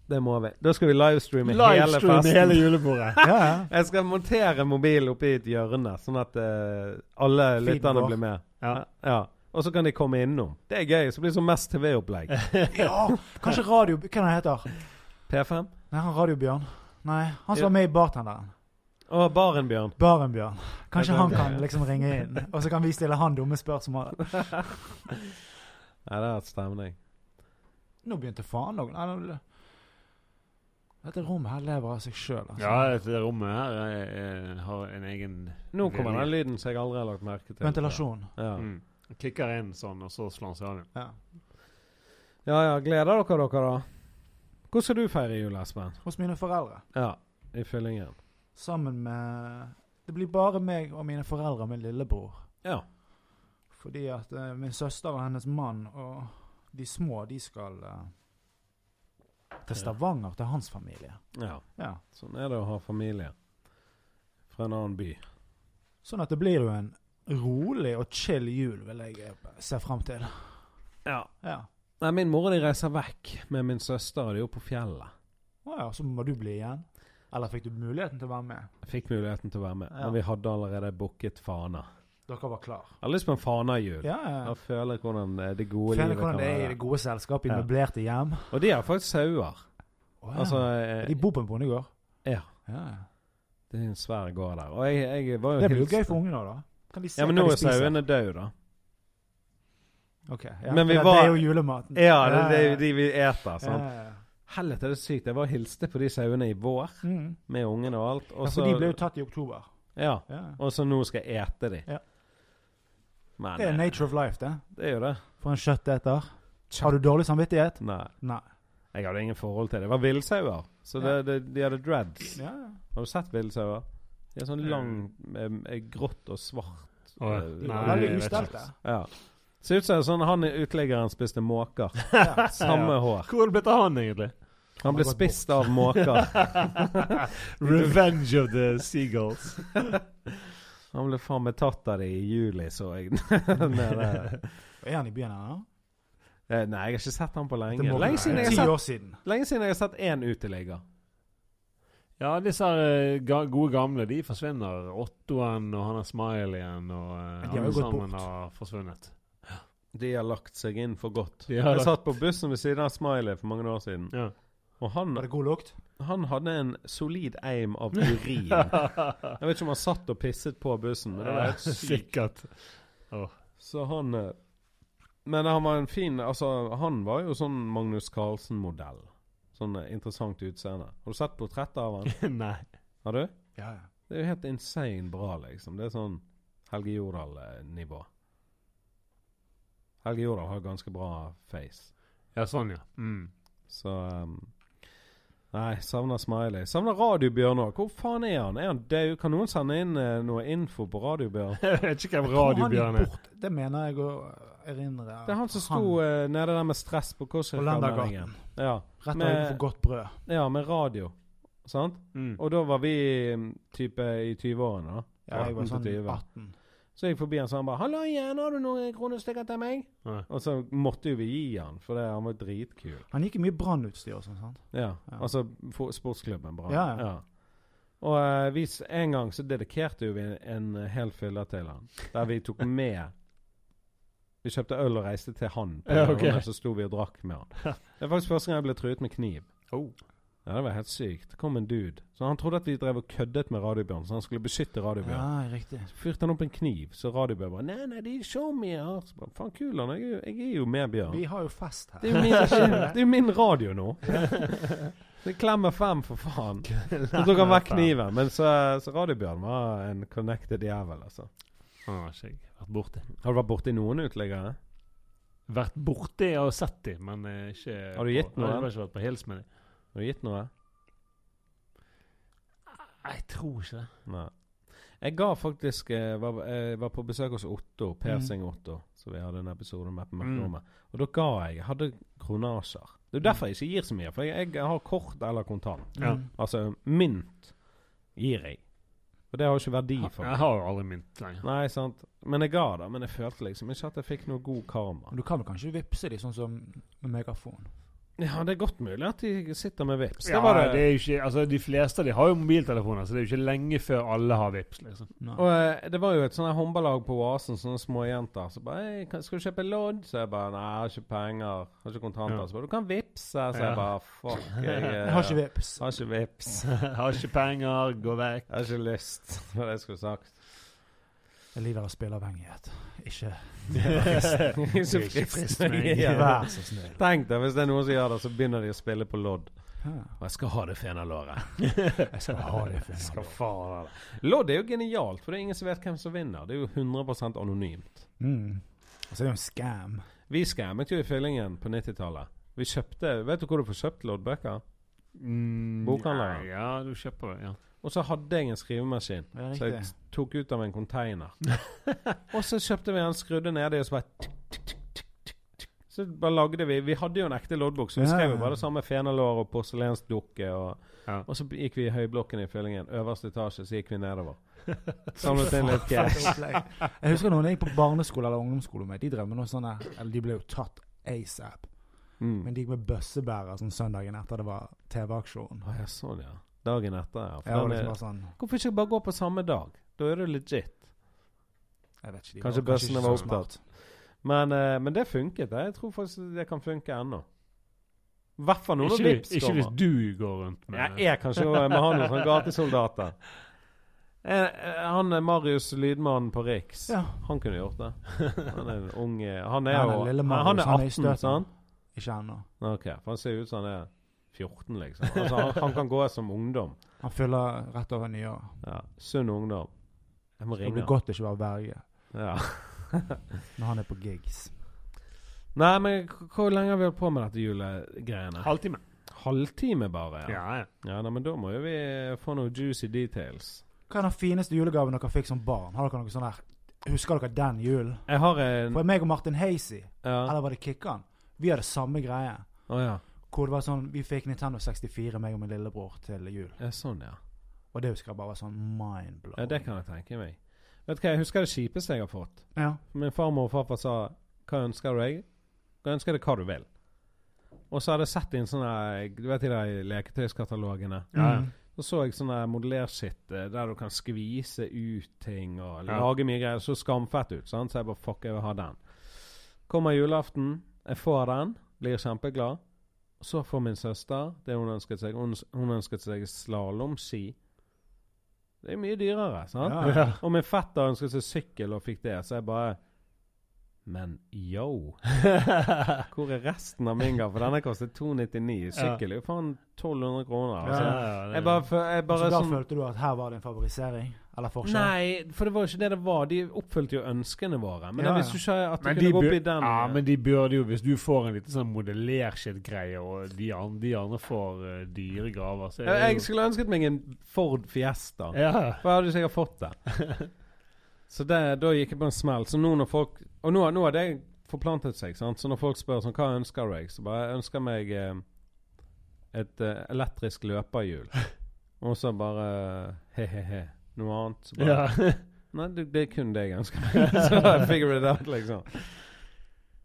Speaker 1: Det må vi. Da skal vi livestreame hele
Speaker 3: Livestream
Speaker 1: festen.
Speaker 3: hele julebordet.
Speaker 2: Ja, ja.
Speaker 1: Jeg skal montere mobilen oppi et hjørne, sånn at eh, alle
Speaker 2: Feeden
Speaker 1: lytterne
Speaker 2: vår.
Speaker 1: blir med.
Speaker 3: Ja.
Speaker 1: ja. Og så kan de komme innom. Det er gøy. Så blir det sånn mest TV-opplegg.
Speaker 2: ja. Kanskje radio... Hva han heter
Speaker 1: P5.
Speaker 2: Nei, han Radiobjørn. Nei, han som var med i Bartenderen.
Speaker 1: Og Baren, Bjørn.
Speaker 2: Barenbjørn. Kanskje
Speaker 1: Ja,
Speaker 2: han
Speaker 1: den-
Speaker 2: kan liksom ringe inn, og så kan vi stille han dumme spørsmål.
Speaker 1: Nei, det har vært stemning.
Speaker 2: Nå begynte faen noe. Nei, nå- Dette rommet her lever av seg sjøl, altså.
Speaker 3: Ja, dette rommet her eh, har en egen
Speaker 1: Nå kommer den lyden som jeg aldri har lagt merke til.
Speaker 2: Ventilasjon.
Speaker 1: Ja.
Speaker 3: mm. Kicker inn sånn, og så slår han seg av igjen.
Speaker 2: Ja.
Speaker 1: ja ja, gleder dere dere, da? Hvordan skal du feire jul, Espen?
Speaker 2: Hos mine foreldre.
Speaker 1: Ja, i fyllingen.
Speaker 2: Sammen med Det blir bare meg og mine foreldre og min lillebror.
Speaker 1: Ja.
Speaker 2: Fordi at eh, min søster og hennes mann og de små, de skal eh, til Stavanger, til hans familie.
Speaker 1: ja.
Speaker 2: Ja.
Speaker 1: Sånn er det å ha familie fra en annen by.
Speaker 2: Sånn at det blir jo en rolig og chill jul, vil jeg eh, se frem til.
Speaker 1: Ja.
Speaker 2: Ja.
Speaker 1: Nei, min mor og de reiser vekk med min søster, og de er oppe på fjellet.
Speaker 2: Å ja, så må du bli igjen. Eller fikk du muligheten til å være med?
Speaker 1: Jeg fikk muligheten til å være med,
Speaker 2: Ja.
Speaker 1: men vi hadde allerede booket Fana.
Speaker 2: Dere var klar.
Speaker 1: Jeg har lyst på en Fana-jul.
Speaker 2: Ja, ja.
Speaker 1: Jeg føler hvordan eh, det gode
Speaker 2: Kjenner
Speaker 1: livet kan
Speaker 2: hvordan det er i det
Speaker 1: være.
Speaker 2: gode selskapet i
Speaker 1: Ja.
Speaker 2: møblerte hjem.
Speaker 1: Og de har faktisk sauer.
Speaker 2: Å, ja.
Speaker 1: Altså eh,
Speaker 2: de bor på en bondegård.
Speaker 1: Ja.
Speaker 2: Ja. ja.
Speaker 1: Det er en svær gård der. Og jeg, jeg var jo
Speaker 2: Det blir jo
Speaker 1: helt-
Speaker 2: gøy for ungene òg, da. Kan de se
Speaker 1: Ja, men
Speaker 2: hva
Speaker 1: nå
Speaker 2: de
Speaker 1: er
Speaker 2: spiser?
Speaker 1: sauene døde, da.
Speaker 2: Ok, ja.
Speaker 1: Men vi
Speaker 2: ja,
Speaker 1: var-
Speaker 2: Det er jo julematen.
Speaker 1: Ja, det, det er jo de vi eter.
Speaker 2: ja,
Speaker 1: Sant?
Speaker 2: ja.
Speaker 1: Helvete, det er sykt. Jeg var og hilste på de sauene i vår
Speaker 2: Mm.
Speaker 1: med ungene og alt. Og
Speaker 2: ja,
Speaker 1: så
Speaker 2: for de ble jo tatt i oktober.
Speaker 1: Ja.
Speaker 2: Ja.
Speaker 1: Og så nå skal jeg ete de.
Speaker 2: Ja.
Speaker 1: Men
Speaker 2: Det er
Speaker 1: eh,
Speaker 2: nature of life, det.
Speaker 1: det er jo det.
Speaker 2: For en kjøtteter. Har du dårlig samvittighet?
Speaker 1: Nei.
Speaker 2: Nei.
Speaker 1: Jeg hadde ingen forhold til det. Det var villsauer. Så det,
Speaker 2: Ja.
Speaker 1: det, de hadde dreads.
Speaker 2: Ja.
Speaker 1: Har du sett villsauer? De er sånn
Speaker 3: Mm.
Speaker 1: lang, eh, grått og svart
Speaker 3: Åh,
Speaker 1: eh,
Speaker 2: De
Speaker 3: Nei,
Speaker 2: var veldig
Speaker 3: jeg vet
Speaker 2: ustelte.
Speaker 1: Ja. Ser ut som sånn han uteliggeren spiste måker.
Speaker 2: Ja.
Speaker 1: Samme hår.
Speaker 3: Hvor er det blitt av han, egentlig?
Speaker 1: Han ble
Speaker 2: har gått
Speaker 1: spist av måker.
Speaker 3: Revenge of the Seagulls.
Speaker 1: Han ble faen meg tatt av det i juli, så jeg. Med Sånn det.
Speaker 2: Er han i byen ennå?
Speaker 1: Eh, Nei, jeg har ikke sett han på
Speaker 2: Det
Speaker 1: lenge.
Speaker 2: må-
Speaker 1: Lenge siden jeg
Speaker 2: Ti
Speaker 1: har sett,
Speaker 2: år siden.
Speaker 1: lenge siden jeg har sett én uteligger.
Speaker 3: Ja, disse her, eh, ga gode gamle de forsvinner. Ottoen og han er Smileyen og eh,
Speaker 2: de har jo
Speaker 3: alle
Speaker 2: gått
Speaker 3: sammen
Speaker 2: bort.
Speaker 3: har forsvunnet.
Speaker 1: De har lagt seg inn for godt.
Speaker 3: De har
Speaker 1: Jeg satt på bussen ved siden av Smiley for mange år siden,
Speaker 3: Ja.
Speaker 1: og han,
Speaker 2: Var det god lukt?
Speaker 1: han hadde en solid eim av urin. Jeg vet ikke om han satt og pisset på bussen, men det var
Speaker 3: Ja,
Speaker 1: helt sykt.
Speaker 3: Sikkert.
Speaker 1: Så han eh, Men han var en fin Altså, han var jo sånn Magnus Carlsen-modell. Sånn eh, interessant utseende. Har du sett portrettet av han?
Speaker 3: Nei.
Speaker 1: Har du?
Speaker 2: Ja, ja.
Speaker 1: Det er jo helt insane bra, liksom. Det er sånn Helge Jordal-nivå. Helge Jordal har ganske bra face.
Speaker 3: Ja, sånn, ja. Mm.
Speaker 1: Så um, Nei, savner Smiley. Savner Radiobjørn òg. Hvor faen er han? Er han død? Kan noen sende inn eh, noe info på Radiobjørn?
Speaker 3: Jeg vet ikke hvem
Speaker 2: Tror han gikk
Speaker 3: radiobjørn er.
Speaker 2: bort. Det mener jeg å erindre.
Speaker 1: Det er han som sto eh, nede der med stress på Korsirkelmeldingen.
Speaker 2: Landergaten.
Speaker 1: Ja,
Speaker 2: Rett
Speaker 1: med-
Speaker 2: overfor Godt brød.
Speaker 1: ja, med radio. Sant?
Speaker 3: Mm.
Speaker 1: Og da var vi mm, type i 20-årene, da.
Speaker 2: Ja, jeg var
Speaker 1: 18
Speaker 2: sånn
Speaker 1: til 20.
Speaker 2: 18.
Speaker 1: Så gikk jeg forbi han så han bare 'Halla igjen, har du noen kronestykker til meg?'
Speaker 3: Ja.
Speaker 1: Og så måtte jo vi gi han, for det, han var dritkul.
Speaker 2: Han gikk i mye brannutstyr og sånn, sant?
Speaker 1: Ja,
Speaker 2: Ja.
Speaker 1: altså for, sportsklubben Brann.
Speaker 2: Ja, ja.
Speaker 1: Og eh, vi, s- en gang så dedikerte jo vi en, en hel fylle til han, der vi tok med Vi kjøpte øl og reiste til han, på
Speaker 3: Ja, ok.
Speaker 1: morgenen, så sto vi og drakk med han. Det er faktisk første gang jeg ble truet med kniv.
Speaker 3: Oh.
Speaker 1: Ja, det var helt sykt. Det kom en dude. Så han trodde at vi drev og køddet med Radiobjørn, så han skulle beskytte Radiobjørn.
Speaker 2: Ja, riktig.
Speaker 1: Fyrte han opp en kniv, så Radiobjørn bare Nei, nei, det er show me her. Så bare, Faen, Kulan, jeg, er jo- jeg er jo med Bjørn.
Speaker 2: Vi har jo fest her.
Speaker 1: Det er jo min, det er jo min radio nå. Det klemmer fem, for faen. Så tok han vekk kniven. Men så, så Radiobjørn var en connected jævel, altså.
Speaker 3: Han har ikke jeg vært borti.
Speaker 1: Har du vært borti noen uteliggere?
Speaker 3: Vært borti og sett de, men eh, ikke
Speaker 1: Har du gitt
Speaker 3: på-
Speaker 1: noe?
Speaker 3: Jeg har ikke vært på hils med de.
Speaker 1: Har du gitt noe?
Speaker 3: Nei, Jeg tror ikke det.
Speaker 1: Nei. Jeg ga faktisk eh, var, eh, var på besøk hos Otto, Persing Otto, så vi hadde en episode med på Mørkerommet. Og da ga jeg. Jeg hadde kronasjer. Det er jo derfor jeg ikke gir så mye, for jeg, jeg har kort eller kontant.
Speaker 3: Ja.
Speaker 2: Mm.
Speaker 1: Altså mynt gir jeg. Og det har jo ikke verdi for
Speaker 3: Jeg
Speaker 1: meg.
Speaker 3: har jo aldri mynt lenger.
Speaker 1: Nei, sant. Men jeg ga det. Men jeg følte liksom ikke at jeg fikk noe god karma.
Speaker 2: Men du kan vel kanskje vippse de sånn som med megafon?
Speaker 1: Ja, det er godt mulig at de sitter med vips.
Speaker 3: Ja, det er jo ikke, altså De fleste av de har jo mobiltelefoner, så det er jo ikke lenge før alle har Vipps. liksom.
Speaker 2: Nei.
Speaker 1: Og eh, det var jo et sånt her håndballag på Oasen, sånne småjenter. Så bare «Hei, kan- 'Skal du kjøpe lodd?' Så jeg bare 'Nei, jeg har ikke penger. Har ikke kontanter.'
Speaker 3: Ja.
Speaker 1: Så bare 'Du kan vippse.' Så
Speaker 3: Ja.
Speaker 1: jeg bare 'Fuck, jeg, eh,
Speaker 2: Jeg har ikke vips.
Speaker 1: har ikke vips.
Speaker 3: har ikke penger, gå vekk.
Speaker 1: Jeg har ikke lyst. Det var det jeg skulle sagt.
Speaker 2: Jeg lider av spilleavhengighet. Ikke
Speaker 1: Ikke
Speaker 3: Ikke
Speaker 1: frist
Speaker 3: frist
Speaker 1: meg
Speaker 3: meg.
Speaker 1: igjen.
Speaker 2: Vær så snill.
Speaker 1: Tenk deg, hvis det er noen som gjør det, så begynner de å spille på lodd.
Speaker 2: Ja.
Speaker 1: Og jeg skal ha det fenalåret.
Speaker 2: Jeg skal ha det for en
Speaker 1: Skal
Speaker 2: gang.
Speaker 1: faen ha det.
Speaker 3: altså.
Speaker 1: Lodd er jo genialt, for det er ingen som vet hvem som vinner. Det er jo 100 anonymt.
Speaker 2: Mm. Og så er det jo en scam.
Speaker 1: Vi skammet jo i fyllingen på 90-tallet. Vi kjøpte Vet du hvor du får kjøpt loddbøker?
Speaker 3: Mm,
Speaker 1: Bokhandler.
Speaker 3: Ja, ja, du kjøper det. ja.
Speaker 1: Og så hadde jeg en skrivemaskin
Speaker 2: Ja,
Speaker 1: som jeg
Speaker 2: riktig.
Speaker 1: tok ut av en container. og så kjøpte vi den, skrudde ned i, og så bare tikk, tikk, tikk, tikk, tikk, tikk. Så bare lagde vi Vi hadde jo en ekte loddbok, så vi
Speaker 2: Ja.
Speaker 1: skrev jo bare det samme fenalår og porselensdukke. Og,
Speaker 3: Ja.
Speaker 1: og så gikk vi i høyblokken i fyllingen. Øverste etasje, så gikk vi nedover. Samlet inn litt cash.
Speaker 2: Fett opplegg. Jeg husker noen jeg gikk på barneskole eller ungdomsskole med. De drev med noe sånn der- Eller de ble jo tatt asap.
Speaker 1: Mm.
Speaker 2: Men de gikk med bøssebærer sånn søndagen etter det var TV-aksjon.
Speaker 1: Å, ja, sånn, ja. Dagen etter, ja. For
Speaker 2: Jeg
Speaker 1: den
Speaker 2: var liksom
Speaker 1: er-
Speaker 2: bare sånn
Speaker 1: Hvorfor ikke bare gå på samme dag? Da er det legit.
Speaker 2: Jeg vet ikke. De
Speaker 1: Kanskje
Speaker 2: var ikke
Speaker 1: bøssene
Speaker 2: så
Speaker 1: var
Speaker 2: smart.
Speaker 1: opptatt. Men, eh, men det funket. Jeg tror faktisk det kan funke ennå. I hvert fall noen av
Speaker 3: Ikke, hvis-
Speaker 1: Vipps
Speaker 3: ikke hvis
Speaker 1: kommer.
Speaker 3: du går rundt med
Speaker 1: Ja, jeg kan ikke eh, med han noen sånne gatesoldater. Eh, eh, Han er Marius Lydmannen på Riks.
Speaker 2: Ja.
Speaker 1: Han kunne gjort det. Han er en ung eh, Han er
Speaker 2: Han er
Speaker 1: jo
Speaker 2: lille Marius,
Speaker 1: Han er
Speaker 2: han er i
Speaker 1: 18,
Speaker 2: støten.
Speaker 1: sant?
Speaker 2: Ikke ennå.
Speaker 1: Ok, for han ser ut som han er 14, liksom. Altså, han, han kan gå som ungdom.
Speaker 2: Han fyller rett over nyåret.
Speaker 1: Ja, Sunn ungdom. Jeg må
Speaker 2: Det
Speaker 1: ringe
Speaker 2: blir
Speaker 1: han.
Speaker 2: godt å ikke være verge
Speaker 1: Ja.
Speaker 2: når han er på gigs.
Speaker 1: Nei, men k- hvor lenge har vi holdt på med dette julegreiene?
Speaker 3: Halvtime.
Speaker 1: Halvtime, bare?
Speaker 3: Ja, ja.
Speaker 1: Ja, nei, men da må jo vi eh, få noen juicy details.
Speaker 2: Hva er den fineste julegaven dere fikk som barn? Har dere noe sånn der Husker dere den julen?
Speaker 1: Jeg har en
Speaker 2: For meg og Martin Hazy,
Speaker 1: Ja.
Speaker 2: eller var det Kikkan, vi hadde samme greie.
Speaker 1: Å ja.
Speaker 2: Hvor det var sånn Vi fikk Nintendo 64, meg og min lillebror, til jul.
Speaker 1: ja. Sånn, ja.
Speaker 2: Og det husker jeg bare var sånn mindblowing.
Speaker 1: ja. Det kan jeg tenke meg. Vet du hva, jeg husker det kjipeste jeg har fått.
Speaker 2: Ja.
Speaker 1: Min farmor og farfar sa 'Hva ønsker du deg?' Jeg ønsker deg hva du vil. Og så hadde jeg sett inn sånne eh, Du vet de der leketøyskatalogene?
Speaker 3: Ja, ja.
Speaker 2: Mm.
Speaker 1: Så så jeg sånn modellershit eh, der du kan skvise ut ting og
Speaker 3: Ja.
Speaker 1: lage mye greier. Så skamfett ut, sant? så jeg bare fuck, jeg vil ha den. Kommer julaften, jeg får den, blir kjempeglad. Så får min søster det hun ønsket seg. Hun, hun ønsket seg slalåmski. Det er mye dyrere, sant?
Speaker 2: Ja, ja.
Speaker 1: Og min fetter ønsket seg sykkel og fikk det, så jeg bare Men yo! Hvor er resten av min gave? For denne kostet 299. Sykkel er jo faen 1200 kroner.
Speaker 3: Ja,
Speaker 1: Altså.
Speaker 3: ja, det-
Speaker 1: Jeg bare, fø- jeg bare
Speaker 2: så Altså, da
Speaker 1: sånn
Speaker 2: følte du at her var det en favorisering? Eller forskjell?
Speaker 1: Nei, for det var jo ikke det det var. De oppfylte jo ønskene våre. Men
Speaker 2: Ja,
Speaker 1: jeg visste
Speaker 2: ja.
Speaker 1: jo ikke at det
Speaker 3: Men
Speaker 1: kunne
Speaker 3: de,
Speaker 1: gå opp
Speaker 3: bur-
Speaker 1: i den. eh.
Speaker 3: ja, men de burde jo, hvis du får en liten sånn modellerskitt-greie, og de andre, de andre får eh, dyre gaver, så er
Speaker 1: jeg,
Speaker 3: det
Speaker 1: jeg skulle ønsket meg en Ford Fiesta.
Speaker 3: jo ja.
Speaker 1: For jeg hadde jo sikkert fått det. Så det, da gikk jeg på en smell. Så nå når folk Og nå, nå har det forplantet seg, sant. Så når folk spør sånn Hva ønsker du deg? Så bare jeg ønsker meg eh, et eh, elektrisk løperhjul. Og så bare he-he-he. Noe annet. Så bare
Speaker 3: ja.
Speaker 1: Nei, det, det er kun det jeg ønsker meg. Så I figure it out, liksom.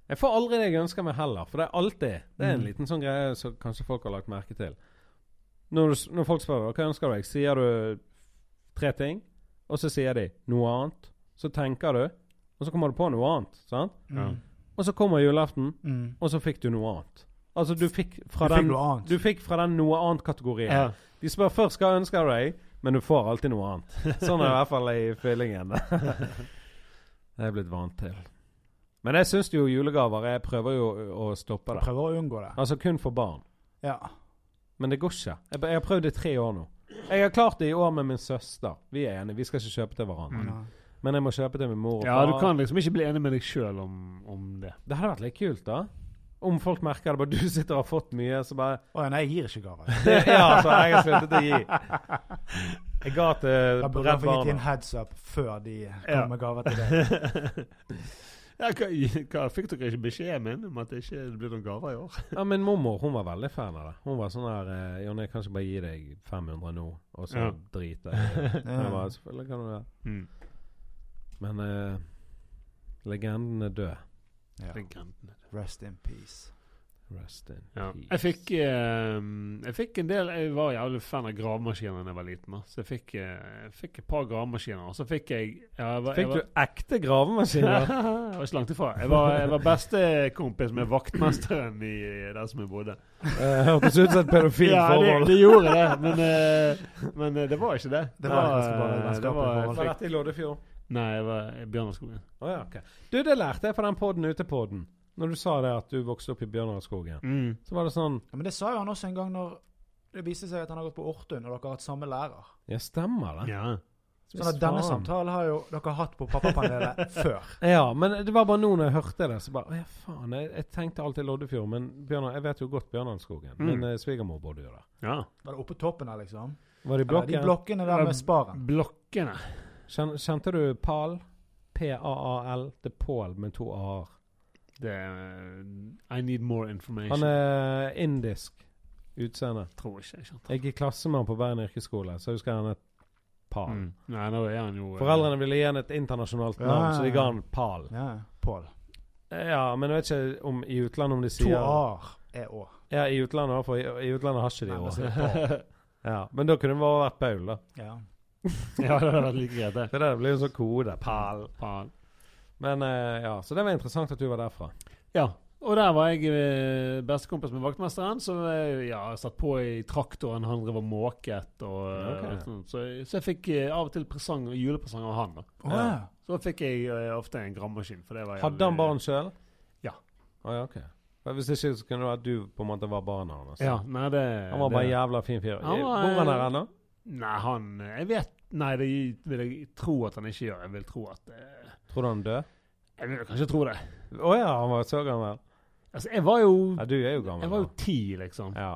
Speaker 1: Jeg får aldri det jeg ønsker meg heller, for det er alltid Det er en
Speaker 2: Mm.
Speaker 1: liten sånn greie som kanskje folk har lagt merke til. Når, du, s- når folk spør deg hva ønsker du deg, sier du tre ting, og så sier de noe annet. Så tenker du, og så kommer du på noe annet. sant?
Speaker 2: Mm.
Speaker 1: Og så kommer julaften,
Speaker 2: Mm.
Speaker 1: og så fikk du noe annet. Altså, du fikk
Speaker 2: Du
Speaker 1: fra
Speaker 2: fikk
Speaker 1: den
Speaker 2: noe annet.
Speaker 1: Du fikk fra den noe annet-kategorien.
Speaker 3: Ja.
Speaker 1: De spør først hva ønsker du deg, men du får alltid noe annet. Sånn er i hvert fall i feelingen. det er jeg blitt vant til. Men jeg syns jo julegaver Jeg prøver jo å stoppe det.
Speaker 2: Prøver å unngå det.
Speaker 1: Altså kun for barn.
Speaker 2: Ja.
Speaker 1: Men det går ikke. Jeg, jeg har prøvd det i tre år nå. Jeg har klart det i år med min søster. Vi er enige. Vi skal ikke kjøpe til hverandre.
Speaker 2: Nei.
Speaker 1: Men jeg må kjøpe til min mor og
Speaker 3: ja,
Speaker 1: far.
Speaker 3: du kan liksom ikke bli enig med deg sjøl om, om det.
Speaker 1: Det hadde vært litt kult, da. Om folk merker det. Bare du sitter og har fått mye, så bare
Speaker 2: Å ja, nei, jeg gir ikke gaver.
Speaker 1: Ja, så jeg har sluttet å gi. Jeg ga til
Speaker 2: Da burde jeg
Speaker 1: Redd
Speaker 2: få gitt de en
Speaker 1: Barna.
Speaker 2: heads up før de
Speaker 3: Ja.
Speaker 2: kommer med gaver til deg.
Speaker 3: ja, hva, hva, fikk dere ikke beskjeden min om at det ikke blir noen gaver i år?
Speaker 1: Ja, min mormor hun var veldig fan av det. Hun var sånn her eh, Jonny, jeg kan ikke bare gi deg 500 nå, og så
Speaker 3: Ja.
Speaker 1: driter jeg i det. Men jeg
Speaker 2: Ja.
Speaker 1: bare, Selvfølgelig kan du det.
Speaker 3: Hmm.
Speaker 1: Men eh, legenden er død.
Speaker 2: Ja.
Speaker 3: Legenden.
Speaker 2: Rest in peace.
Speaker 1: Rest in
Speaker 3: Ja.
Speaker 1: peace.
Speaker 3: Jeg fikk, eh, jeg fikk en del Jeg var jævlig fan av gravemaskiner da jeg var liten. da. Så jeg fikk, eh, jeg fikk et par gravemaskiner. Og så fikk jeg, ja, jeg, var- jeg
Speaker 1: Fikk
Speaker 3: var,
Speaker 1: du ekte gravemaskiner?
Speaker 3: jeg var ikke langt ifra. Jeg var, jeg var bestekompis med vaktmesteren i der som jeg bodde.
Speaker 1: Eh, Hørtes ut som et pedofilt
Speaker 3: Ja, det,
Speaker 1: forhold.
Speaker 3: det gjorde det, men, eh, men eh, det var ikke det.
Speaker 2: Det var
Speaker 3: Nei,
Speaker 2: ganske bra, det
Speaker 3: det var-
Speaker 2: vennskapet.
Speaker 1: Var dette i Loddefjord?
Speaker 3: Nei, jeg var i Bjørnarskogen.
Speaker 1: Å ja, ok. Du, det lærte jeg på den podden ute podden. Når du sa det at du vokste opp i Bjørnarskogen.
Speaker 3: Mm.
Speaker 1: Så var det sånn
Speaker 2: Ja, men det sa jo han også en gang når det viste seg at han har gått på Ortun, og dere har hatt samme lærer.
Speaker 1: Ja, stemmer det.
Speaker 3: Ja.
Speaker 2: Sånn at denne samtalen har jo dere hatt på pappapanelet før.
Speaker 1: Ja, men det var bare nå når jeg hørte det, så bare Å ja, faen. Jeg, jeg tenkte alltid Loddefjord, men Bjørnar, jeg vet jo godt Bjørnarskogen.
Speaker 3: Mm.
Speaker 1: Min eh, svigermor bodde jo der.
Speaker 3: ja.
Speaker 2: Var det oppe på toppen her, liksom?
Speaker 1: Var det i
Speaker 2: Eller de
Speaker 1: blokken?
Speaker 2: blokkene der med sparen.
Speaker 3: Blokkene.
Speaker 1: Kjen, kjente du Pal? P-a-a-l. Det er Pål med to a-er.
Speaker 3: Det er, I need more information.
Speaker 1: Han er indisk utseende.
Speaker 3: tror ikke jeg skjønte.
Speaker 1: Jeg gikk klasse med han på Bergen yrkesskole, så jeg husker han het Pal.
Speaker 3: Mm. Nei, nå er han jo eh,
Speaker 1: Foreldrene ville gi han et internasjonalt
Speaker 2: Ja,
Speaker 1: navn,
Speaker 2: ja,
Speaker 1: så de
Speaker 2: ja.
Speaker 1: ga han Pal.
Speaker 2: Ja, Pål.
Speaker 1: Ja, men jeg vet ikke om i utlandet om de
Speaker 2: To
Speaker 1: sier
Speaker 2: a-er er å.
Speaker 1: Ja, i utlandet, i hvert fall. I- I utlandet har ikke de
Speaker 2: Nei, altså, men
Speaker 1: år.
Speaker 2: så er det Pål.
Speaker 1: Ja, men da kunne det bare vært Paul, da.
Speaker 2: Ja.
Speaker 3: Ja, det hadde vært like greit, det.
Speaker 1: Det der blir jo sånn kode. Pal.
Speaker 3: Pal.
Speaker 1: Men eh, ja, så det var interessant at du var derfra.
Speaker 3: Ja. Og der var jeg eh, bestekompis med vaktmesteren, så eh, ja, jeg satt på i traktoren. Han drev og måket. Og, eh,
Speaker 1: Ok.
Speaker 3: og sånn. så, så jeg fikk eh, av og til presang, julepresang av han. da.
Speaker 2: Å, ja.
Speaker 3: Så fikk jeg eh, ofte en gravemaskin. for det var
Speaker 1: Hadde han barn sjøl?
Speaker 3: Ja.
Speaker 1: Å ja, ok. Men Hvis ikke så kunne det være at du på en måte var barnet hans.
Speaker 3: Ja, nei, det,
Speaker 1: Han var bare en
Speaker 3: det,
Speaker 1: jævla fin fyr.
Speaker 3: Han var,
Speaker 1: Bor han
Speaker 3: eh,
Speaker 1: her ennå?
Speaker 3: Nei, han Jeg vet Nei, det vil jeg tro at han ikke gjør. Jeg vil tro at eh,
Speaker 1: Tror du han død?
Speaker 3: Jeg vil kanskje tro det.
Speaker 1: Å ja, han var så gammel.
Speaker 3: Altså, jeg var jo
Speaker 1: Ja, du er jo gammel.
Speaker 3: Jeg var jo
Speaker 1: nå.
Speaker 3: ti, liksom.
Speaker 1: Ja.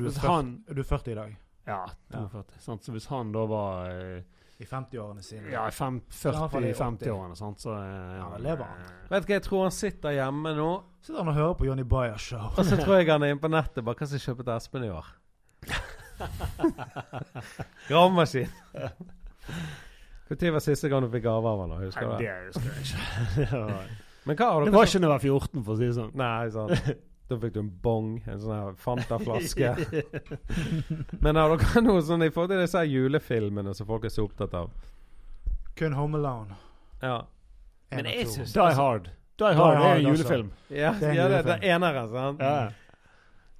Speaker 2: Du er
Speaker 3: hvis
Speaker 2: først-
Speaker 3: han
Speaker 2: Er Du er 40 i dag.
Speaker 3: Ja, 42. Sant? Så hvis han da var eh,
Speaker 2: I 50-årene sine.
Speaker 3: ja, i fem-
Speaker 2: Ja, for det er
Speaker 3: 40-50-årene, sant, så eh,
Speaker 2: Ja, da lever han.
Speaker 3: eh,
Speaker 1: Vet du hva, jeg tror han sitter hjemme nå,
Speaker 2: Sitter han og hører på Johnny Bayer Show.
Speaker 1: og så tror jeg han er inne på nettet. Bare hva som er kjøpt til Espen i år? Gravemaskin. Når var siste gang du fikk gave av han? da? Husker
Speaker 3: Nei,
Speaker 1: du det?
Speaker 3: det husker jeg ikke. det, var,
Speaker 1: Men hva har
Speaker 3: det
Speaker 1: dere
Speaker 3: var ikke da jeg var 14, for å si det sånn.
Speaker 1: Nei, sant. Da fikk du en bong, en sånn her Fanta-flaske. Men har dere noe sånn i forhold til disse her julefilmene som folk er så opptatt av?
Speaker 2: Kun Home Alone.
Speaker 1: Ja.
Speaker 2: En
Speaker 1: Men
Speaker 2: og
Speaker 1: jeg
Speaker 2: to.
Speaker 1: synes-
Speaker 3: Die Hard. Die Hard
Speaker 2: Hard,
Speaker 3: er en
Speaker 2: altså.
Speaker 3: julefilm.
Speaker 1: Ja,
Speaker 2: Det
Speaker 1: det
Speaker 2: er en
Speaker 1: ja, det, det
Speaker 2: julefilm.
Speaker 1: enere, sant?
Speaker 3: Ja.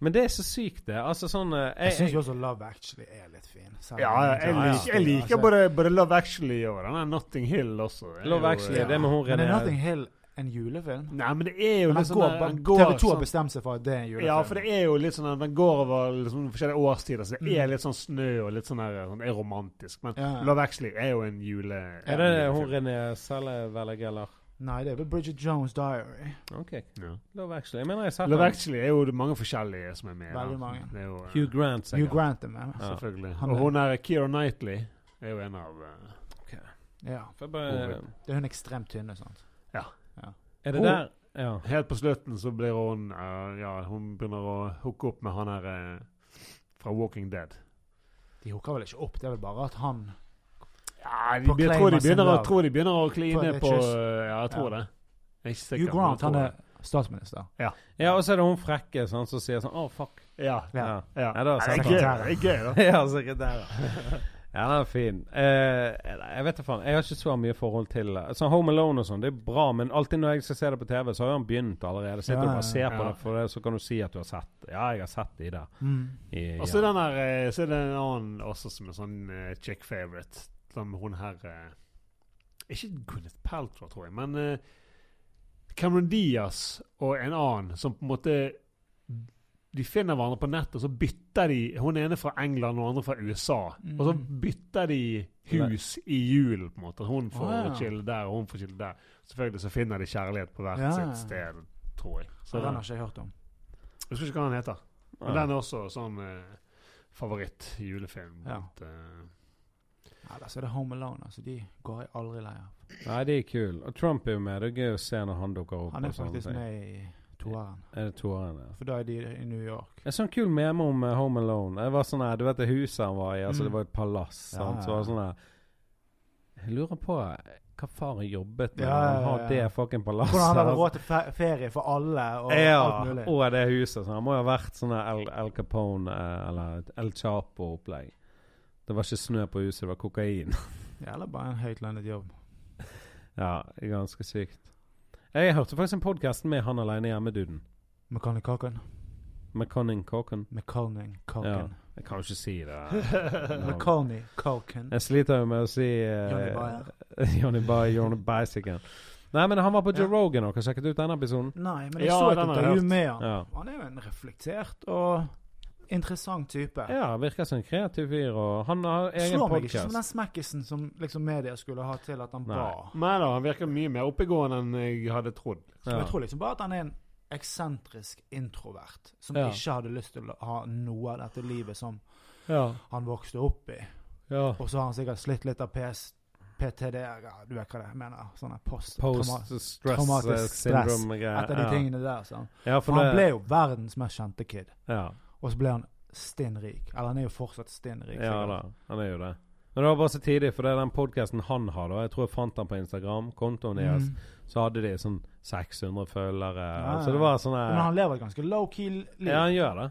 Speaker 1: Men det er så sykt, det. Altså sånn eh,
Speaker 2: Jeg syns
Speaker 1: jeg,
Speaker 2: jo også Love Actually er litt fin. selv om
Speaker 3: Ja,
Speaker 2: den ikke
Speaker 3: jeg
Speaker 2: er
Speaker 1: lik-
Speaker 3: liker,
Speaker 2: stor,
Speaker 3: jeg liker
Speaker 2: altså.
Speaker 3: både, både Love Actually og den der Notting Hill også. Det er
Speaker 1: Love
Speaker 3: jo, eh,
Speaker 1: Actually, det med hun
Speaker 2: Altså, Men er
Speaker 1: René
Speaker 2: Notting Hill en julefilm? altså,
Speaker 3: Nei, men det er jo
Speaker 2: Den
Speaker 3: litt sånn
Speaker 2: går,
Speaker 3: der-
Speaker 2: bare-
Speaker 3: den går
Speaker 2: TV2 har
Speaker 3: sånn-
Speaker 2: bestemt seg for at det er en julefilm.
Speaker 3: Ja, for det er jo litt sånn at den går over liksom, forskjellige årstider, så det er
Speaker 1: Mm.
Speaker 3: litt sånn snø og litt sånn, der, sånn er romantisk. Men
Speaker 2: Ja.
Speaker 3: Love Actually er jo en jule...
Speaker 1: Er det det hun René Sellevelg, eller?
Speaker 2: Nei, det er vel Bridget Jones' Diary.
Speaker 1: OK.
Speaker 3: Ja.
Speaker 1: Love Actually. Jeg mener jeg har sett
Speaker 3: Love
Speaker 1: den.
Speaker 3: Actually er jo det mange forskjellige som er med. da.
Speaker 2: Veldig mange.
Speaker 3: Det er jo, eh,
Speaker 1: Hugh Grant,
Speaker 2: New
Speaker 1: sikkert.
Speaker 2: Grant er med.
Speaker 1: Ja.
Speaker 3: Selvfølgelig.
Speaker 2: Han er-
Speaker 3: Og hun er Keira Knightley. Er jo en av eh,
Speaker 2: Ja.
Speaker 1: Får jeg bare-
Speaker 2: Det er hun ekstremt tynne, sant.
Speaker 1: Er det der? Ja.
Speaker 3: Helt på slutten så blir hun eh, Ja, hun begynner å hooke opp med han her eh, fra Walking Dead.
Speaker 2: De hooker vel ikke opp, det er vel bare at han
Speaker 3: Ja, de, jeg
Speaker 2: Proclaim
Speaker 3: tror de,
Speaker 2: us in
Speaker 3: begynner, å-
Speaker 2: love.
Speaker 3: tror de begynner å kline
Speaker 2: For det er
Speaker 3: på
Speaker 2: kyss.
Speaker 3: eh, Ja, jeg
Speaker 2: Ja.
Speaker 3: tror det. Jeg er ikke sikker.
Speaker 2: Hugh Grant,
Speaker 3: men
Speaker 2: han
Speaker 3: jeg
Speaker 2: er statsminister.
Speaker 1: ja, og så er det hun frekke sånn, som sier sånn Å, fuck.
Speaker 3: tror det. Ja.
Speaker 1: Ja.
Speaker 2: Ja.
Speaker 3: Ja.
Speaker 1: Nei, det var
Speaker 3: Nei, det er gøy,
Speaker 2: sekretær.
Speaker 3: det er gøy, da.
Speaker 1: Ja, sekretærer. Ja, den er fin. Eh, nei, jeg vet da faen. Jeg har ikke så mye forhold til det. Sånn Home Alone og sånn, det er bra, men alltid når jeg skal se det på TV, så har han begynt allerede. Sitter
Speaker 2: Ja,
Speaker 1: du bare og ser
Speaker 3: ja,
Speaker 1: på
Speaker 3: ja.
Speaker 1: det, for det, så kan du si at du har sett Ja, jeg har sett de der.
Speaker 3: Mm.
Speaker 2: Mm.
Speaker 1: I,
Speaker 3: Og så er den her, eh, så er det en annen også som er sånn eh, chick favorite. Som hun her eh, Ikke Gwyneth Paltrow, tror jeg, men eh, Cameron Diaz og en annen som på en måte De finner hverandre på nettet, og så bytter de Hun ene fra England og den andre fra USA. Og så
Speaker 2: Mhm.
Speaker 3: bytter de hus i julen, på en måte. Hun får
Speaker 2: Å, ja.
Speaker 3: chille der, og hun får chille der. Selvfølgelig så finner de kjærlighet på hvert
Speaker 2: Ja.
Speaker 3: sitt sted, tror jeg.
Speaker 2: Så
Speaker 3: Så,
Speaker 2: den har
Speaker 3: jeg
Speaker 2: ikke jeg hørt om.
Speaker 3: husker ikke hva han heter. Men
Speaker 1: ja.
Speaker 3: den er også sånn eh, favoritt julefilm.
Speaker 2: Ja.
Speaker 3: At, eh,
Speaker 2: Ellers er det Home Alone. altså De går jeg aldri lei av.
Speaker 1: Nei, de er kule. Og Trump er jo med. Det er gøy å se når han dukker opp.
Speaker 2: Han er
Speaker 1: og sånne
Speaker 2: faktisk
Speaker 1: ting.
Speaker 2: med i toeren.
Speaker 1: Er det toeren, ja.
Speaker 2: For da er de i New York.
Speaker 1: En sånn kul meme om eh, Home Alone. Det var sånn her, Du vet det huset han var i? Altså
Speaker 2: Mm.
Speaker 1: Det var et palass.
Speaker 2: Ja,
Speaker 1: sant?
Speaker 2: ja,
Speaker 1: Så var det
Speaker 2: ja.
Speaker 1: sånn her Jeg lurer på hva faren jobbet med.
Speaker 2: Ja,
Speaker 1: når
Speaker 2: ja,
Speaker 1: Han
Speaker 2: ja,
Speaker 1: har det
Speaker 2: ja.
Speaker 1: fucking palasset.
Speaker 3: altså.
Speaker 2: Hvordan han
Speaker 1: her.
Speaker 2: hadde råd til fe- ferie for alle og alt
Speaker 1: Ja,
Speaker 2: mulig.
Speaker 1: og det huset. Så han må jo ha vært sånn her El, El Capone eh, eller et El Chapo-opplegg. Det var ikke snø på huset, det var kokain.
Speaker 2: Ja, Eller bare en høytlønnet jobb.
Speaker 1: ja, ganske sykt. Jeg hørte faktisk en podkast med han aleine hjemme-duden.
Speaker 2: McConning Cocken.
Speaker 1: McConning Cocken.
Speaker 2: McConning
Speaker 1: Ja,
Speaker 2: Cocken.
Speaker 1: jeg kan jo ikke si det. Navn.
Speaker 2: McConning Cocken.
Speaker 1: Jeg sliter jo med å si eh,
Speaker 2: Johnny Bayer.
Speaker 1: Johnny Bayer, Johnny Bicycle. Nei, men han var på Joe
Speaker 2: Ja.
Speaker 1: Rogan og har sjekket ut den episoden.
Speaker 2: Nei, men jeg
Speaker 3: Ja,
Speaker 2: så et
Speaker 3: den har jeg
Speaker 2: intervju
Speaker 3: hørt.
Speaker 2: med han.
Speaker 1: Ja.
Speaker 2: Han er jo en reflektert og interessant type.
Speaker 1: ja, virker som en kreativ fyr, og han har egen
Speaker 2: Slår meg ikke som
Speaker 1: podkast.
Speaker 2: den smekkisen som liksom media skulle ha til at han
Speaker 1: Nei.
Speaker 2: var.
Speaker 3: Men da, han virker mye mer oppegående enn jeg hadde trodd.
Speaker 2: Men
Speaker 1: Ja.
Speaker 2: Jeg tror liksom bare at han er en eksentrisk introvert som
Speaker 1: Ja.
Speaker 2: ikke hadde lyst til å ha noe av dette livet som
Speaker 1: Ja.
Speaker 2: han vokste opp i.
Speaker 1: ja.
Speaker 2: Og så har han sikkert slitt litt av PS, PTD, ja, du vet hva det mener. Sånne post... trauma-
Speaker 1: Post-stress
Speaker 2: traumatisk
Speaker 1: eh,
Speaker 2: stress
Speaker 1: syndrome-greier.
Speaker 2: Et av de
Speaker 1: ja.
Speaker 2: tingene der. Sånn.
Speaker 1: Ja, for
Speaker 2: For han
Speaker 1: det-
Speaker 2: ble jo verdens mest kjente kid.
Speaker 1: Ja,
Speaker 2: Og så ble han stinn rik. Eller han er jo fortsatt stinn rik.
Speaker 1: ja
Speaker 2: sikkert.
Speaker 1: da, han er jo det. Men det var bare så tidlig, for det er den podkasten han har, da. Jeg tror jeg fant han på Instagram, kontoen deres.
Speaker 2: Mm.
Speaker 1: Så hadde de sånn 600 følgere.
Speaker 2: Ja,
Speaker 1: Så det var sånn
Speaker 2: Mm. Men
Speaker 1: eh,
Speaker 2: han lever et ganske low-key liv.
Speaker 1: Ja, han gjør det.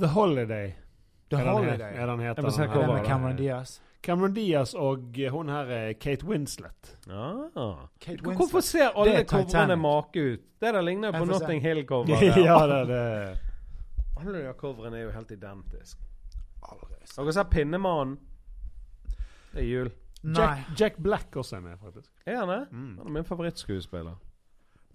Speaker 3: The Holiday
Speaker 2: The
Speaker 3: er den
Speaker 2: Holiday.
Speaker 3: het- er den heter.
Speaker 1: Jeg må se
Speaker 3: den
Speaker 1: hva
Speaker 2: Er det
Speaker 3: her.
Speaker 1: var
Speaker 2: med Cameron Diaz?
Speaker 3: Cameron Diaz og eh, hun her eh, Kate Winslet.
Speaker 1: Ah.
Speaker 2: Kate
Speaker 1: Hvorfor ser alle
Speaker 2: Det er
Speaker 1: coverene
Speaker 2: Titanic.
Speaker 1: make ut? Det der ligner
Speaker 2: Jeg
Speaker 1: på
Speaker 2: får se.
Speaker 1: Notting Hill-cover.
Speaker 3: ja, det er det.
Speaker 1: Alle de her coverene er jo helt identiske.
Speaker 2: Aldri.
Speaker 1: Dere ser Pinnemannen. Det er jul.
Speaker 2: Nei.
Speaker 3: Jack, Jack Black også er med, faktisk.
Speaker 1: Er han det?
Speaker 3: Mm.
Speaker 1: Han er min favorittskuespiller.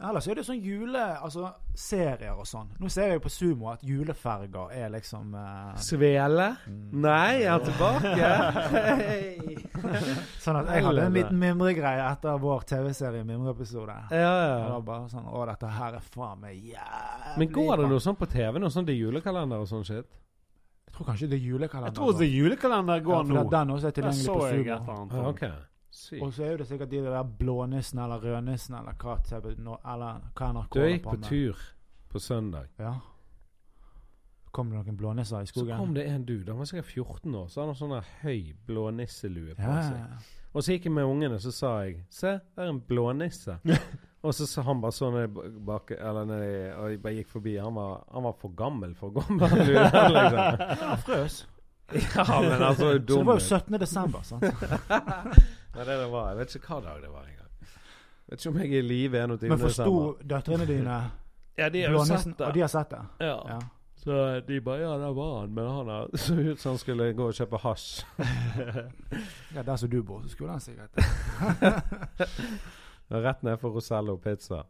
Speaker 2: Ellers er det sånn jule... Altså, serier og sånn. Nå ser jeg jo på Sumo at juleferger er liksom eh,
Speaker 1: Svele?
Speaker 2: Mm.
Speaker 1: Nei, jeg er tilbake!
Speaker 2: Sånn at jeg hadde en liten mimregreie etter vår TV-serie Mimreepisode.
Speaker 1: ja,
Speaker 2: Det
Speaker 1: ja.
Speaker 2: var bare sånn Å, dette her er faen meg jævlig
Speaker 1: Men går det
Speaker 2: bra.»
Speaker 1: noe sånn på TV? Noe sånn det er julekalender og sånn shit?
Speaker 2: Jeg tror kanskje det er julekalender.
Speaker 3: Jeg tror The Julekalender går nå.
Speaker 2: Den også er
Speaker 3: Der
Speaker 2: tilgjengelig
Speaker 3: så
Speaker 2: på
Speaker 3: jeg et
Speaker 2: Sumo.
Speaker 3: eller annet.
Speaker 1: Ah,
Speaker 3: sånt.
Speaker 1: ok. Sykt.
Speaker 2: Og så er det sikkert de der blånissene eller rødnissene eller hva TV nå- eller hva NRK
Speaker 1: Du, jeg gikk
Speaker 2: holder
Speaker 1: på tur på søndag.
Speaker 2: Ja. Kom det noen blånisser i
Speaker 1: Så
Speaker 2: skogen?
Speaker 1: kom det en dude, han var sikkert 14 år, så hadde han sånn der høy blånisselue på
Speaker 2: ja,
Speaker 1: seg. Og så gikk jeg med ungene, så sa jeg Se, der er en blånisse. og så sa han bare sånn ned i bak, eller ned, i- Og jeg bare gikk forbi. Han var, han var for gammel for å gå med den luen, liksom.
Speaker 2: ja, frøs.
Speaker 1: Ja, men han så jo
Speaker 2: Så det
Speaker 1: dum
Speaker 2: var jo
Speaker 1: ut.
Speaker 2: 17. desember, sant?
Speaker 1: Nei, det det var. Jeg vet ikke hva dag det var engang. Vet ikke om jeg er i live 21.
Speaker 2: Men
Speaker 1: desember.
Speaker 2: forsto døtrene dine
Speaker 1: Ja, de har jo
Speaker 2: blånissen?
Speaker 1: sett
Speaker 2: Og
Speaker 1: det.
Speaker 2: de har sett det?
Speaker 1: Ja.
Speaker 2: Ja.
Speaker 1: Så de bare Ja, der var han, men han er- så ut som han skulle gå og kjøpe hasj.
Speaker 2: ja der som du bor, så skulle han sikkert
Speaker 1: Rett ned for Rosello pizza,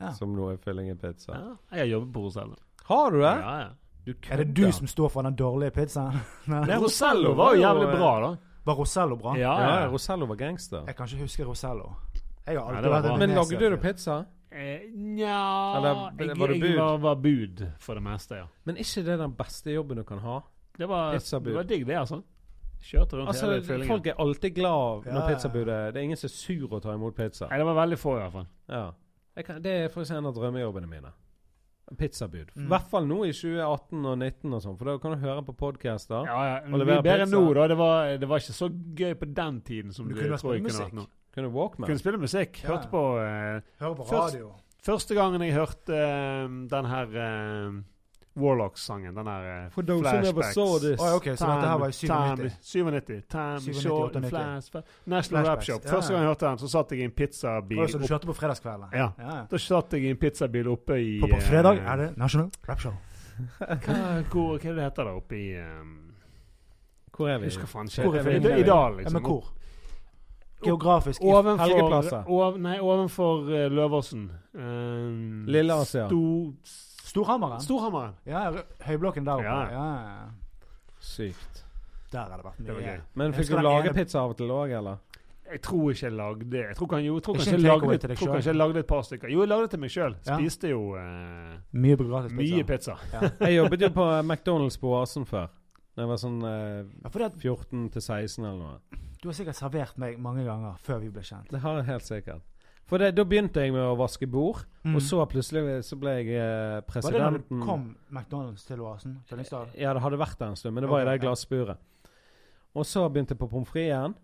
Speaker 2: ja.
Speaker 1: som nå er fyllingen pizza.
Speaker 3: Ja, jeg har jobbet på Rosello.
Speaker 1: Har du det?
Speaker 3: Ja, ja.
Speaker 1: Du
Speaker 2: Er det du som står for den dårlige pizzaen?
Speaker 3: Nei, Rosello var jo jævlig bra, da.
Speaker 2: Var Rosello bra?
Speaker 3: Ja,
Speaker 1: Ja, ja,
Speaker 3: ja.
Speaker 1: Rosello var gangster.
Speaker 2: Jeg kan ikke huske Rosello. Jeg har
Speaker 3: Nei,
Speaker 2: alltid
Speaker 3: det var
Speaker 2: vært
Speaker 3: bra.
Speaker 2: en
Speaker 1: Men
Speaker 2: Venezia-fyr.
Speaker 1: lagde du pizza?
Speaker 3: Eh, Nja
Speaker 1: Eller,
Speaker 3: jeg,
Speaker 1: var det bud?
Speaker 3: jeg var, var bud for det meste, ja.
Speaker 1: Men ikke det den beste jobben du kan ha?
Speaker 3: Det var,
Speaker 1: Pizzabud.
Speaker 3: det var digg, det, altså. Kjørte rundt
Speaker 1: Altså,
Speaker 3: hele fyllingen.
Speaker 1: Folk er alltid glad
Speaker 2: Ja,
Speaker 1: når
Speaker 2: ja.
Speaker 1: pizzabudet Det er ingen som er sur å ta imot pizza.
Speaker 3: Nei, det var veldig få, i hvert fall.
Speaker 1: Ja. Jeg kan, det er faktisk en av drømmejobbene mine. Pizzabud. I
Speaker 2: Mm.
Speaker 1: hvert fall nå i 2018 og 2019 og sånn, for da kan du høre på podcaster.
Speaker 3: Ja, ja.
Speaker 1: Og
Speaker 3: Men vi
Speaker 1: levere
Speaker 3: er bedre
Speaker 1: pizza.
Speaker 3: nå, da. Det var, det var ikke så gøy på den tiden som
Speaker 2: Du
Speaker 3: du
Speaker 2: kunne
Speaker 3: tror jeg
Speaker 2: spille
Speaker 3: kunne
Speaker 2: musikk.
Speaker 3: vært nå.
Speaker 1: Kunne du walkman?
Speaker 3: Kunne spille musikk.
Speaker 2: Ja.
Speaker 3: Hørte på eh,
Speaker 2: Hører på
Speaker 3: Først-
Speaker 2: radio.
Speaker 3: Første gangen jeg hørte eh, den her eh, Warlock-sangen. Den der eh,
Speaker 1: For those who never
Speaker 3: Flashbacks.
Speaker 1: saw this.
Speaker 2: Oi, ok, så dette her var i 97.
Speaker 3: Time, 97. Time
Speaker 2: 97,
Speaker 3: short
Speaker 2: 98.
Speaker 3: and flash. National Rap
Speaker 2: Flashbacks,
Speaker 3: Shop.
Speaker 2: ja.
Speaker 3: Første gang jeg hørte den, så satt jeg i en pizzabil.
Speaker 2: Var det som du
Speaker 3: opp-
Speaker 2: kjørte på fredagskvelden?
Speaker 3: Ja.
Speaker 2: ja.
Speaker 3: Da satt jeg i en pizzabil oppe i eh,
Speaker 2: For på fredag er det National Rap Show.
Speaker 3: Hva, hvor, hva er det heter det oppe i ehm,
Speaker 1: Hvor er
Speaker 3: Jeg
Speaker 1: vi?
Speaker 3: husker faen
Speaker 1: Hvor
Speaker 3: ikke.
Speaker 1: er vi?
Speaker 3: I, I
Speaker 2: Ja,
Speaker 3: dal,
Speaker 2: men
Speaker 3: liksom.
Speaker 2: hvor? Geografisk. i-
Speaker 3: Ovenfor,
Speaker 1: Helgeplasser.
Speaker 3: ov, nei, ovenfor eh, Løversen. Um,
Speaker 1: Lille Asia.
Speaker 3: Sto,
Speaker 2: Storhammeren?
Speaker 3: Storhammeren.
Speaker 2: Ja, Rø- høyblokken der oppe.
Speaker 3: Ja.
Speaker 2: Ja. ja, ja.
Speaker 1: Sykt.
Speaker 2: Der har det vært
Speaker 3: Det var
Speaker 2: mye.
Speaker 3: gøy.
Speaker 1: Men
Speaker 2: Jeg
Speaker 1: fikk
Speaker 2: husker
Speaker 1: du
Speaker 2: den
Speaker 1: lage
Speaker 2: ene-
Speaker 1: pizza av og til òg, eller?
Speaker 3: Jeg tror ikke jeg lagde Jeg tror kan- jo, jeg tror
Speaker 2: Ikke
Speaker 3: kanskje
Speaker 2: en
Speaker 3: jeg
Speaker 2: takeaway
Speaker 3: lagde,
Speaker 2: til deg
Speaker 3: tror
Speaker 2: selv?
Speaker 3: kanskje jeg lagde et par stykker. Jo, jeg lagde det til meg sjøl.
Speaker 2: Ja.
Speaker 3: Spiste jo eh,
Speaker 2: Mye på gratis pizza.
Speaker 3: mye pizza.
Speaker 1: Jeg jobbet jo på McDonald's på Oasen før. Da jeg var sånn eh,
Speaker 2: Ja, fordi at
Speaker 1: 14 til 16 eller noe.
Speaker 2: Du har sikkert servert meg mange ganger før vi ble kjent.
Speaker 1: Det har jeg helt sikkert. For det, da begynte jeg med å vaske bord, og så plutselig så ble jeg eh,
Speaker 2: Mm. Var det da du
Speaker 1: presidenten
Speaker 2: kom McDonald's til Oasen? Fyllingsdal?
Speaker 1: Ja, det hadde vært der en stund, men det var
Speaker 2: Ok,
Speaker 1: i det
Speaker 2: ja.
Speaker 1: glassburet. Og så begynte jeg på pommes frites igjen,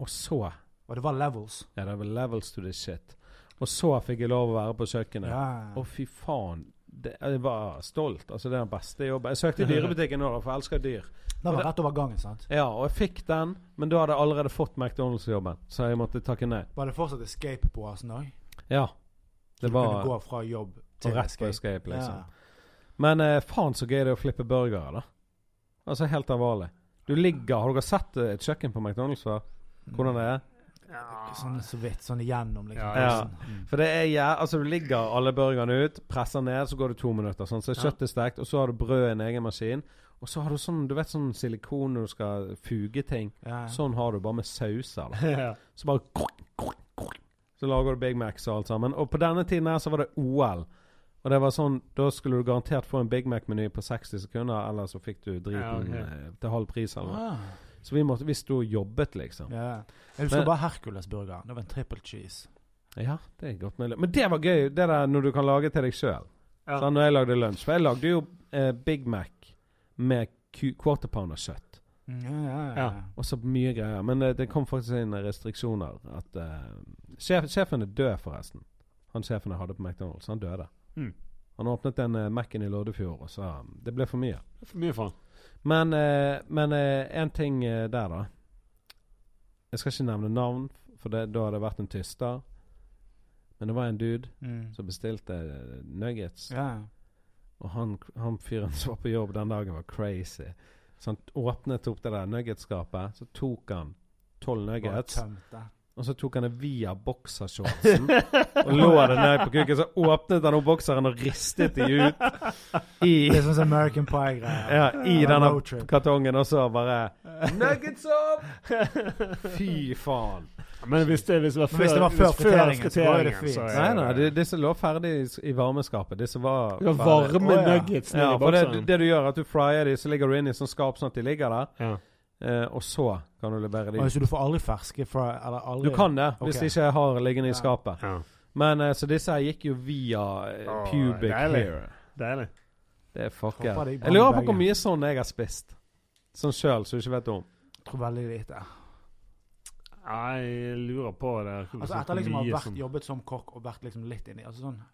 Speaker 1: og så
Speaker 2: Og det var levels.
Speaker 1: Ja, det var levels to this shit. Og så fikk jeg lov å være på kjøkkenet. Å,
Speaker 2: Ja.
Speaker 1: fy faen. Det, jeg var stolt. Altså, det er den beste jobben. Jeg søkte i dyrebutikken nå, da, for jeg elsker dyr.
Speaker 2: Det var rett over gangen, sant?
Speaker 1: Ja, og jeg fikk den, men da hadde jeg allerede fått McDonald's-jobben, så jeg måtte takke nei.
Speaker 2: Var det fortsatt escape på Oasen òg?
Speaker 1: Ja.
Speaker 2: Så
Speaker 1: Det
Speaker 2: du kunne
Speaker 1: var
Speaker 2: gå fra jobb
Speaker 1: og
Speaker 2: til
Speaker 1: rett på escape, liksom.
Speaker 2: Ja.
Speaker 1: Men eh, faen så gøy det er å flippe burgere, da. Altså helt alvorlig. Du ligger Har dere sett eh, et kjøkken på McDonald's før? Hvordan det er?
Speaker 2: Sånn så vidt. Sånn igjennom, liksom.
Speaker 3: Ja,
Speaker 1: ja.
Speaker 2: Sånn. Mm.
Speaker 1: For det er jæ... Altså, du ligger alle burgerne ut, presser ned, så går det to minutter. Sånn. Så er
Speaker 2: Ja.
Speaker 1: kjøttet stekt, og så har du brød i en egen maskin. Og så har du sånn du vet sånn silikon når du skal fuge ting.
Speaker 2: Ja.
Speaker 1: Sånn har du bare med sauser. da.
Speaker 3: Ja.
Speaker 1: Så bare krok, krok, krok. Så lager du Big Macs og alt sammen. Og på denne tiden her så var det OL. Og det var sånn, da skulle du garantert få en Big Mac-meny på 60 sekunder, eller så fikk du driten
Speaker 3: Ja, ok.
Speaker 1: eh, til halv pris eller noe.
Speaker 2: Ah.
Speaker 1: Så vi, måtte, vi sto og jobbet, liksom. Ja.
Speaker 2: Ja. Jeg husker
Speaker 1: Men-
Speaker 2: bare Hercules-burger. Det var en triple cheese.
Speaker 1: det er godt mulig. Men det var gøy, det der når du kan lage til deg sjøl.
Speaker 3: Ja.
Speaker 1: Sånn, når jeg lagde lunsj. For jeg lagde jo eh, Big Mac med ku- quarter pounder kjøtt.
Speaker 2: Mm, Ja, ja, ja.
Speaker 3: Ja.
Speaker 1: Og så mye greier. Men eh, det, det kom faktisk inn restriksjoner. At eh, sjef, Sjefen er død, forresten. Han sjefen jeg hadde på McDonald's, han døde.
Speaker 3: Mm.
Speaker 1: Han åpnet den eh, Mac-en i Loddefjord, og så Det ble for mye.
Speaker 3: For mye faen.
Speaker 1: Men eh, men, eh, en ting eh, der, da. Jeg skal ikke nevne navn, for det, da hadde det vært en tyster. Men det var en dude
Speaker 2: Mm.
Speaker 1: som bestilte eh, nuggets.
Speaker 2: ja.
Speaker 1: Og han, han fyren som var på jobb den dagen, var crazy. Så han åpnet opp det der nuggetskapet, så tok han tolv
Speaker 2: Bare
Speaker 1: nuggets.
Speaker 2: tømt det.
Speaker 1: Og så tok han det via boksershortsen og lå det ned på kuken. Så åpnet han opp bokseren og ristet de ut i,
Speaker 2: Det er sånn som American Pie-greier.
Speaker 1: ja, i
Speaker 2: Det var
Speaker 1: denne
Speaker 2: road trip.
Speaker 1: kartongen, og så bare Nuggets opp! Fy faen.
Speaker 3: Men hvis det, hvis det var før,
Speaker 2: Men hvis det var før friteringen, så var det
Speaker 3: friteringen,
Speaker 2: fint.
Speaker 3: så
Speaker 1: Nei,
Speaker 3: er
Speaker 1: nei,
Speaker 3: det-
Speaker 1: de- disse lå ferdig i, s- i varmeskapet. Disse var
Speaker 3: det var varme
Speaker 2: Å, ja.
Speaker 3: nuggets nedi
Speaker 1: Ja, for det,
Speaker 3: bokseren.
Speaker 1: det du gjør, er at du fryer de, så ligger du inn i sånn skap sånn at de ligger der.
Speaker 3: Ja.
Speaker 1: Eh, og så kan du levere de
Speaker 2: Oi, så du får aldri ferske fra eller aldri,
Speaker 1: Du kan det, hvis
Speaker 2: Ok.
Speaker 1: de ikke har liggende i
Speaker 2: Ja.
Speaker 1: skapet.
Speaker 3: Ja.
Speaker 1: Men eh, så disse her gikk jo via eh,
Speaker 3: Åh,
Speaker 1: pubic
Speaker 3: deilig.
Speaker 1: hair.
Speaker 3: Deilig.
Speaker 1: Det er fucker.
Speaker 2: Håper det
Speaker 1: Jeg
Speaker 2: gikk bra
Speaker 1: lurer
Speaker 2: med
Speaker 1: på hvor
Speaker 2: begge.
Speaker 1: mye sånn jeg har spist. Sånn sjøl, som du ikke vet om.
Speaker 2: tror veldig lite.
Speaker 3: Nei, Jeg lurer på det.
Speaker 2: Altså Etter liksom å ha
Speaker 3: Mye
Speaker 2: vært,
Speaker 3: som-
Speaker 2: jobbet som kokk og vært liksom litt inni altså sånn, det er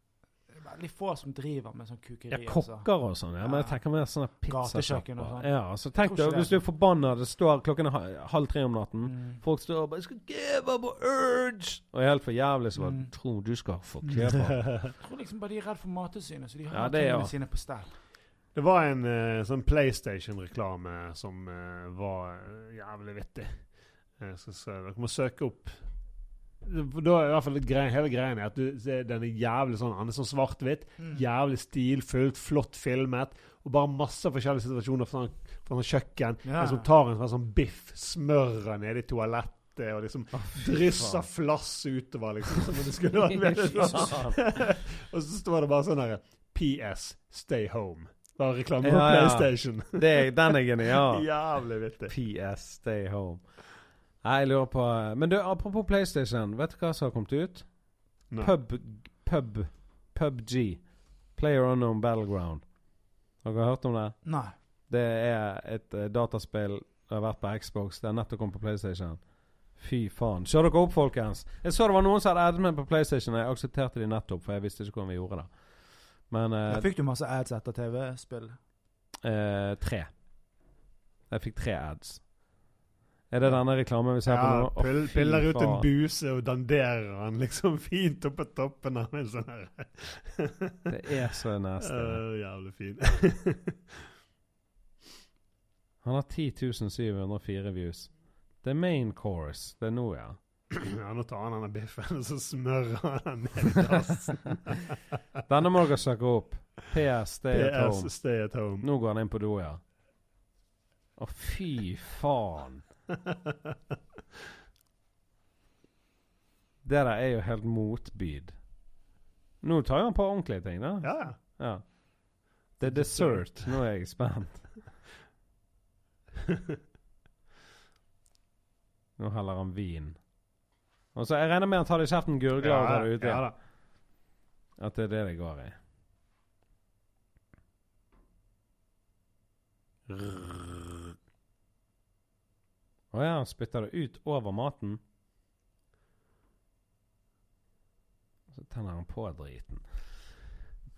Speaker 2: Veldig få som driver med sånn kukeri.
Speaker 1: Ja,
Speaker 2: altså.
Speaker 1: kokker og sånn, ja. Men jeg tenker mer sånn
Speaker 2: Gatekjøkken og
Speaker 1: pizzasjapper.
Speaker 2: sånn.
Speaker 1: Ja, så tenk
Speaker 2: Tror
Speaker 1: deg
Speaker 2: ikke
Speaker 1: hvis du
Speaker 2: det.
Speaker 1: er forbanna, det står klokken er ha- halv tre om natten.
Speaker 2: Mm.
Speaker 1: Folk står og bare 'Jeg skal give up on urge'. Og helt for jævlig så bare
Speaker 2: Mm.
Speaker 1: 'Tror du skal få kebab'.
Speaker 2: Jeg tror liksom bare de er redd for Mattilsynet, så de har
Speaker 1: Ja,
Speaker 2: ja,
Speaker 1: det er
Speaker 2: tingene
Speaker 1: jo-
Speaker 2: sine på stell.
Speaker 3: Det var en eh, sånn PlayStation-reklame som eh, var eh, jævlig vittig. Jeg skal se, dere må søke opp Det- da, er i hvert fall det grei- Hele greien er at du, ser den er jævlig sånn Han er sånn svart-hvitt.
Speaker 2: Mm.
Speaker 3: Jævlig stilfullt, flott filmet. Og bare masse forskjellige situasjoner fra sånn, fra sånn kjøkken.
Speaker 2: Ja.
Speaker 3: En som tar en sånn, sånn biff, smører nede i toalettet og liksom drysser flass utover, liksom. Som om det skulle vært veldig og så står det bare sånn her PS, stay home. Bare reklame på
Speaker 1: Ja, ja.
Speaker 3: PlayStation.
Speaker 1: Det er- Den er genial.
Speaker 3: Jævlig vittig.
Speaker 1: PS, stay home. Nei, jeg lurer på Men du, apropos PlayStation. Vet du hva som har kommet ut?
Speaker 3: Nei.
Speaker 1: Pub, pub, PubG. Player Unknown Battleground. Har dere hørt om det?
Speaker 2: Nei.
Speaker 1: Det er et eh, dataspill det har vært på Xbox. Det har nettopp kommet på PlayStation. Fy faen. Kjør dere opp, folkens! Jeg så det var noen som hadde admin på PlayStation. og Jeg aksepterte de nettopp, for jeg visste ikke hvordan vi gjorde det. Men eh,
Speaker 2: Jeg fikk du masse ads etter TV-spill?
Speaker 1: eh, tre. Jeg fikk tre ads. Er det denne reklamen vi ser
Speaker 3: Ja,
Speaker 1: på nå? Å,
Speaker 3: pill,
Speaker 1: fy
Speaker 3: piller ut en
Speaker 1: faen.
Speaker 3: buse og danderer han liksom fint oppå toppen av en sånn her
Speaker 1: Det er så nasty. det.
Speaker 3: Øh, Jævlig fin.
Speaker 1: Han har 10.704 views. Det er main course. Det er nå, ja.
Speaker 3: ja, nå tar han denne biffen, og så smører han den ned i dassen.
Speaker 1: Denne må dere søke opp. PS, det er at
Speaker 3: PS,
Speaker 1: home.
Speaker 3: stay at home.
Speaker 1: Nå går han inn på do, ja. Å, fy faen. Det der er jo helt motbyd. Nå tar jo han på ordentlige ting, da.
Speaker 3: Ja, ja.
Speaker 1: Ja. Det er dessert. Nå er jeg spent. Nå heller han vin. Og så, Jeg regner med han tar det i kjeften, gurgler og tar det ut.
Speaker 3: ja
Speaker 1: igjen.
Speaker 3: da.
Speaker 1: At det er det det går i. Å ja, han spytter det ut over maten. Så tenner han på driten.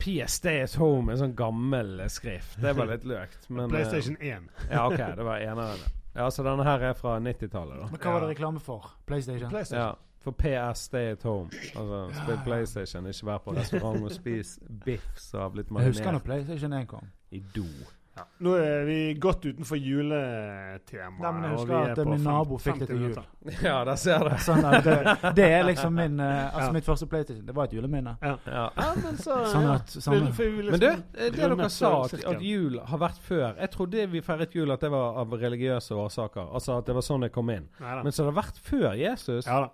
Speaker 1: PS Stay at Home er sånn gammel eh, skrift. Det var litt løkt, men eh,
Speaker 3: PlayStation 1.
Speaker 1: Ja, OK, det var eneren. Ja, så denne her er fra 90-tallet, da.
Speaker 2: Men hva var
Speaker 3: Ja.
Speaker 2: det reklame for? PlayStation?
Speaker 3: PlayStation.
Speaker 1: Ja, for PS Stay at Home. Altså, spill PlayStation, ikke vær på restaurant og spis biff som har blitt
Speaker 2: Jeg husker når
Speaker 1: marinert
Speaker 2: PlayStation 1 kom.
Speaker 1: i do.
Speaker 3: Ja. Nå er vi godt utenfor juletemaet.
Speaker 2: Nei, men jeg
Speaker 3: og
Speaker 2: husker
Speaker 3: vi
Speaker 2: at,
Speaker 3: er
Speaker 2: eh,
Speaker 3: på
Speaker 2: min
Speaker 3: fem-
Speaker 2: nabo fikk det
Speaker 3: 50
Speaker 2: til jul.
Speaker 3: minutter.
Speaker 1: Ja, der ser du.
Speaker 2: Sånn at det, det er liksom min eh, Altså
Speaker 3: Ja.
Speaker 2: mitt første PlayStation. Det var et juleminne.
Speaker 1: Ja.
Speaker 3: Ja, men så
Speaker 2: Sånn
Speaker 3: ja.
Speaker 2: at sånn,
Speaker 3: For vi vil
Speaker 1: Men du,
Speaker 3: liksom-
Speaker 1: det
Speaker 3: runde
Speaker 1: dere sa, at,
Speaker 3: sirkelen.
Speaker 1: at jul har vært før Jeg trodde vi feiret jul at det var av religiøse årsaker. Altså at det var sånn jeg kom inn.
Speaker 3: Neida.
Speaker 1: Men så har det vært før Jesus.
Speaker 3: Ja da.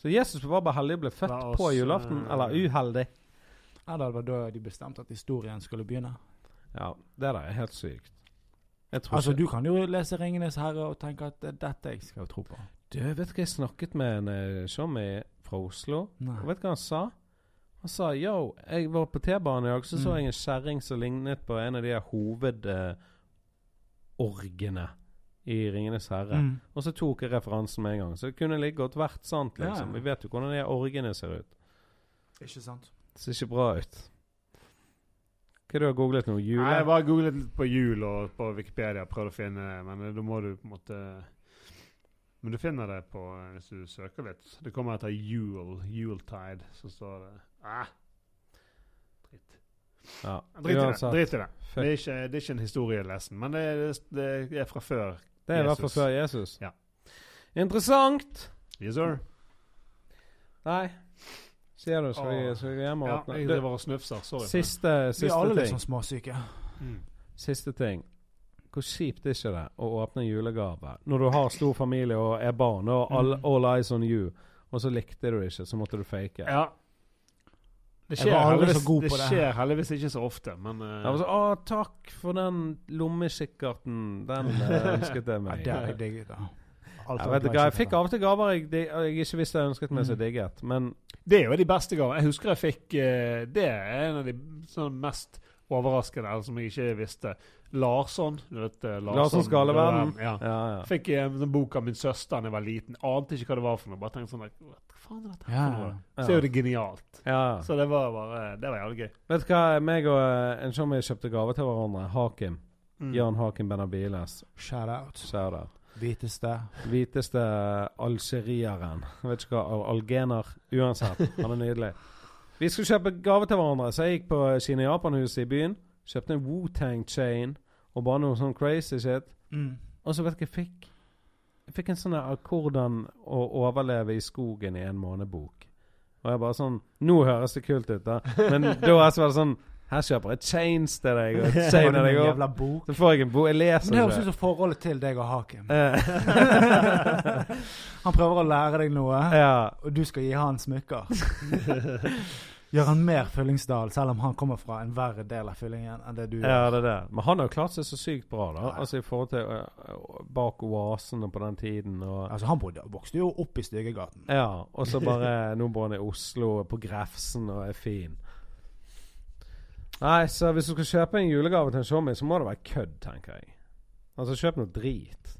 Speaker 1: Så Jesus var bare heldig og ble født
Speaker 3: Det var
Speaker 1: på
Speaker 3: også-
Speaker 1: julaften. Eller uheldig.
Speaker 2: Eller det var da de bestemte at historien skulle begynne.
Speaker 1: Ja, det der er helt sykt. Jeg tror
Speaker 2: Altså
Speaker 1: ikke
Speaker 2: Du kan jo lese 'Ringenes herre' og tenke at det er dette jeg skal tro på.
Speaker 1: Du, vet du hva jeg snakket med en eh, showmie fra Oslo? Og
Speaker 2: Nei.
Speaker 1: vet du hva han sa? Han sa yo, jeg var på T-banen i dag, så så
Speaker 2: Mm.
Speaker 1: jeg en kjerring som lignet på en av de her hovedorgene i Ringenes herre.
Speaker 2: Mm.
Speaker 1: Og så tok jeg referansen med en gang. Så det kunne like godt vært sant,
Speaker 2: Ja, ja.
Speaker 1: liksom. Vi vet jo hvordan de her orgene ser ut.
Speaker 2: Ikke sant?
Speaker 1: Det ser ikke bra ut. Hva er det du har googlet nå? Jule?
Speaker 3: Nei, jeg bare googlet litt på jul og på Wikipedia, prøvde å finne det, men eh, da må du på en måte Men du finner det på eh, hvis du søker litt. Det kommer etter jul, juletide, så står det ah, Dritt.
Speaker 1: ja.
Speaker 3: Drit i det.
Speaker 1: Uansett,
Speaker 3: Drit i det. Det
Speaker 1: fuck.
Speaker 3: er ikke, det er ikke en historielesen, men det er, det er fra før.
Speaker 1: Det er i hvert fall
Speaker 3: Jesus.
Speaker 1: før Jesus.
Speaker 3: Ja.
Speaker 1: Interessant!
Speaker 3: Yes, sir.
Speaker 1: Nei. Sier du, skal vi,
Speaker 2: Ah.
Speaker 3: Åh.
Speaker 1: skal vi hjem og
Speaker 3: Ja,
Speaker 1: åpne?
Speaker 3: jeg
Speaker 1: Du,
Speaker 3: driver og snufser. Sorry. for det.
Speaker 1: siste,
Speaker 2: Vi er alle
Speaker 1: siste ting.
Speaker 2: liksom småsyke.
Speaker 3: Mm.
Speaker 1: Siste ting. Hvor kjipt er ikke det å åpne en julegave når du har stor familie og er barn og all,
Speaker 2: Mm.
Speaker 1: all eyes on you, og så likte du det ikke, så måtte du fake?
Speaker 3: Ja.
Speaker 2: Jeg
Speaker 3: Det skjer,
Speaker 2: var aldri så
Speaker 3: heldigvis,
Speaker 2: god
Speaker 3: det
Speaker 2: på det.
Speaker 3: skjer heldigvis ikke så ofte, men eh,
Speaker 1: Jeg var sånn, Å, takk for den lommekikkerten. Den eh, ønsket jeg
Speaker 2: Ja,
Speaker 1: meg.
Speaker 2: det er jeg digget. da. Alt
Speaker 1: jeg
Speaker 2: var
Speaker 1: vet
Speaker 2: bra,
Speaker 1: ikke, jeg
Speaker 2: ikke
Speaker 1: fikk
Speaker 2: sant?
Speaker 1: av og til gaver jeg, de- jeg ikke visste jeg ønsket meg, så
Speaker 2: Mm.
Speaker 1: digget. Men
Speaker 3: Det er jo de beste gavene. Jeg husker jeg fikk eh, Det er en av de sånn mest overraskende, eller som jeg ikke visste. Larsson. Du vet eh, Larsson,
Speaker 1: Larssons galeverden.
Speaker 3: Ja.
Speaker 1: ja, ja.
Speaker 3: Fikk eh, en sånn bok av min søster da jeg var liten. Ante ikke hva det var for noe. Bare tenkte sånn like, Hva faen er dette her
Speaker 2: Ja.
Speaker 3: for noe? Så er jo det genialt.
Speaker 1: ja.
Speaker 3: Så det var bare Det var jævlig gøy.
Speaker 1: Vet du hva meg og eh, en showmate kjøpte gave til hverandre? Hakim.
Speaker 3: Mm.
Speaker 1: Jan Hakim Benabiles.
Speaker 2: Shout out.
Speaker 1: Shout-out.
Speaker 2: Hviteste.
Speaker 1: Hviteste algerieren. Jeg vet ikke hva. al- Algener. Uansett. Han er nydelig. Vi skulle kjøpe gave til hverandre, så jeg gikk på Kina Japan-huset i byen. Kjøpte en Wutang-chain og bare noe sånn crazy shit.
Speaker 2: Mm.
Speaker 1: Og så vet du hva jeg fikk? Jeg fikk en sånn der 'Hvordan å overleve i skogen i en måned'-bok. Og jeg bare sånn Nå høres det kult ut, da. Men da så var det sånn Her kjøper jeg chains til deg, og
Speaker 2: Var
Speaker 1: chainer
Speaker 2: det
Speaker 1: deg
Speaker 2: min
Speaker 1: opp.
Speaker 2: jævla bok?
Speaker 1: Så får jeg en bok. Jeg leser
Speaker 2: Men det høres
Speaker 1: det.
Speaker 2: ut som forholdet til deg og Hakim.
Speaker 1: Eh.
Speaker 2: Han prøver å lære deg noe,
Speaker 1: ja.
Speaker 2: og du skal gi han smykker. Gjør han mer Fyllingsdal, selv om han kommer fra en verre del av Fyllingen enn det du gjør.
Speaker 1: Ja, det er det. Men han har jo klart seg så sykt bra, da.
Speaker 2: Ja.
Speaker 1: Altså i forhold til eh, bak oasene på den tiden og
Speaker 2: Altså, han bodde, vokste jo opp i Stygegaten.
Speaker 1: Ja, og så bare Nå bor han i Oslo, på Grefsen, og er fin. Nei, så hvis du skal kjøpe en julegave til en showmee, så må det være kødd, tenker jeg. Altså, kjøp noe drit.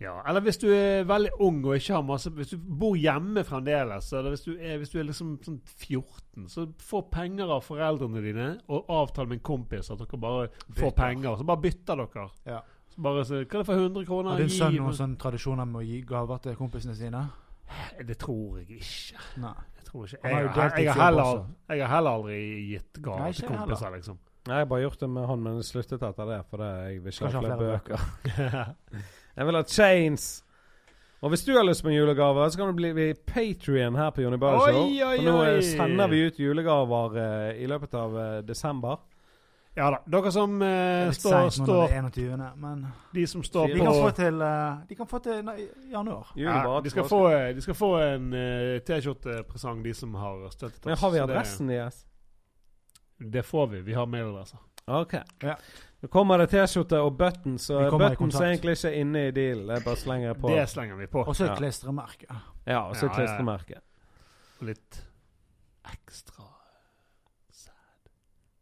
Speaker 3: Ja, Eller hvis du er veldig ung og ikke har masse Hvis du bor hjemme fremdeles, eller hvis du er, hvis du er liksom sånn 14, så få penger av foreldrene dine og avtale med en kompis at dere bare
Speaker 2: Bytter.
Speaker 3: får penger. Så bare bytter dere.
Speaker 2: Ja.
Speaker 3: Så bare så, Kan jeg få 100 kroner?
Speaker 2: Har din
Speaker 3: Gi
Speaker 2: sønn
Speaker 3: meg-
Speaker 2: noen sånne tradisjoner med å gi gaver til kompisene sine?
Speaker 3: Det tror jeg ikke.
Speaker 2: Nei.
Speaker 3: Jeg tror ikke.
Speaker 2: Han har
Speaker 3: Jeg,
Speaker 2: jo
Speaker 3: har- jeg,
Speaker 2: deltidsjobb
Speaker 3: har heller,
Speaker 2: også.
Speaker 3: jeg har heller aldri gitt
Speaker 2: Nei,
Speaker 3: gaver
Speaker 2: ikke
Speaker 3: til
Speaker 2: jeg heller.
Speaker 3: kompiser, liksom.
Speaker 1: Nei, jeg har bare gjort det med han, men jeg sluttet etter det. For det, jeg vil ikke
Speaker 2: Skal
Speaker 1: ha
Speaker 2: ikke ha
Speaker 1: flere
Speaker 2: flere
Speaker 1: bøker. jeg vil ha chains! Og hvis du har lyst på en julegave, så kan du bli Patrion her på Jonny Bøhler Show.
Speaker 3: Oi, oi,
Speaker 1: For nå eh,
Speaker 3: oi.
Speaker 1: sender vi ut julegaver eh, i løpet av eh, desember.
Speaker 3: Ja da. Dere som
Speaker 2: Det
Speaker 3: eh,
Speaker 2: er litt
Speaker 3: står,
Speaker 2: seint nå når
Speaker 3: står
Speaker 2: det er 21., men
Speaker 3: De som står
Speaker 1: Vi
Speaker 2: de
Speaker 1: må-
Speaker 2: kan få
Speaker 3: på
Speaker 2: til, eh, de kan få til nei, i januar.
Speaker 3: ja,
Speaker 1: Julebar,
Speaker 3: de, skal få, eh, de skal få en eh, T-skjortepresang, de som har støttet oss.
Speaker 1: Men har vi
Speaker 3: Så
Speaker 1: adressen deres?
Speaker 3: Det, det får vi. Vi har altså. mailadresser.
Speaker 1: OK.
Speaker 2: Ja.
Speaker 1: Nå kommer det T-skjorte og buttons,
Speaker 2: Vi
Speaker 1: og
Speaker 2: kommer i
Speaker 1: buttons er
Speaker 2: kontakt.
Speaker 1: egentlig ikke inne i dealen. Jeg bare slenger på.
Speaker 3: Det slenger vi på.
Speaker 2: Og så
Speaker 1: Ja.
Speaker 2: et klistremerke.
Speaker 1: Ja, og så
Speaker 3: Ja, ja, ja.
Speaker 1: klistremerke.
Speaker 3: Litt ekstra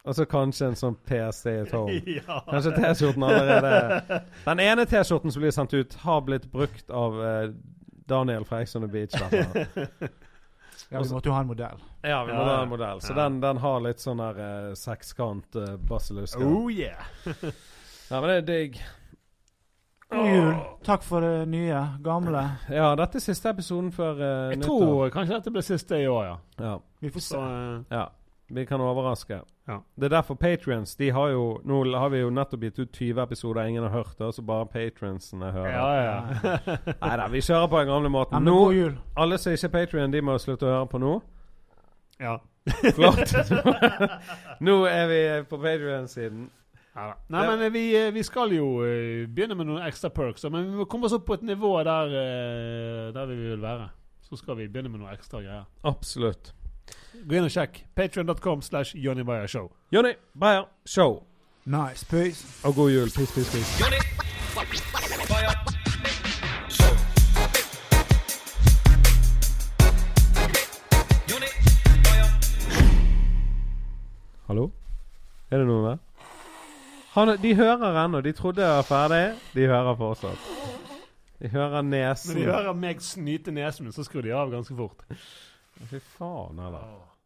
Speaker 1: Og så kanskje en sånn PST at home.
Speaker 3: Oh. Ja.
Speaker 1: Kanskje T-skjorten allerede Den ene T-skjorten som blir sendt ut, har blitt brukt av eh, Daniel fra Ex on the Beach. Derfor.
Speaker 2: Ja, vi
Speaker 1: Også-
Speaker 2: måtte jo ha en modell.
Speaker 1: Ja, vi må
Speaker 3: Ja,
Speaker 1: ha
Speaker 3: ja.
Speaker 1: en modell. Så
Speaker 3: Ja.
Speaker 1: den, den har litt sånn der eh, sekskant uh, basillusker.
Speaker 3: Oh yeah.
Speaker 1: Ja, men det er digg.
Speaker 2: God jul. Takk for det nye, gamle.
Speaker 1: Ja, dette er siste episoden før eh,
Speaker 3: Jeg
Speaker 1: nyttår.
Speaker 3: tror kanskje dette blir siste i år, ja.
Speaker 1: Ja,
Speaker 2: Vi får
Speaker 3: Så
Speaker 2: se.
Speaker 3: eh,
Speaker 1: ja. Vi kan overraske.
Speaker 3: Ja.
Speaker 1: Det er derfor Patrions De har jo Nå har vi jo nettopp gitt ut 20 episoder ingen har hørt, og så bare patrionsene hører.
Speaker 3: Ja, ja.
Speaker 1: Nei da, vi kjører på den gamle
Speaker 2: Ja,
Speaker 1: måten.
Speaker 2: men god
Speaker 1: Nå,
Speaker 2: jul.
Speaker 1: alle som ikke er Patrion, de må slutte å høre på nå.
Speaker 3: ja.
Speaker 1: Flott. Nå er vi på Patrion-siden.
Speaker 3: Ja da. Nei, men eh, vi, eh, vi skal jo eh, begynne med noen ekstra perks, da, men vi må komme oss opp på et nivå der, eh, der vi vil være. Så skal vi begynne med noen ekstra greier.
Speaker 1: Absolutt.
Speaker 3: Gå inn og sjekk. Patreon.com slash Johnny Bayer Show.
Speaker 1: Jonny Beyer, show.
Speaker 2: Nice. Peace.
Speaker 1: Og god jul. Peace, peace, peace. Hallo? Er det noen der? Han, de hører ennå. De trodde jeg var ferdig. De hører fortsatt. De hører
Speaker 3: Når de
Speaker 1: nesen.
Speaker 3: hører meg snyte nesen min, så skrur de av ganske fort.
Speaker 1: Fy faen, eller?
Speaker 3: Åh.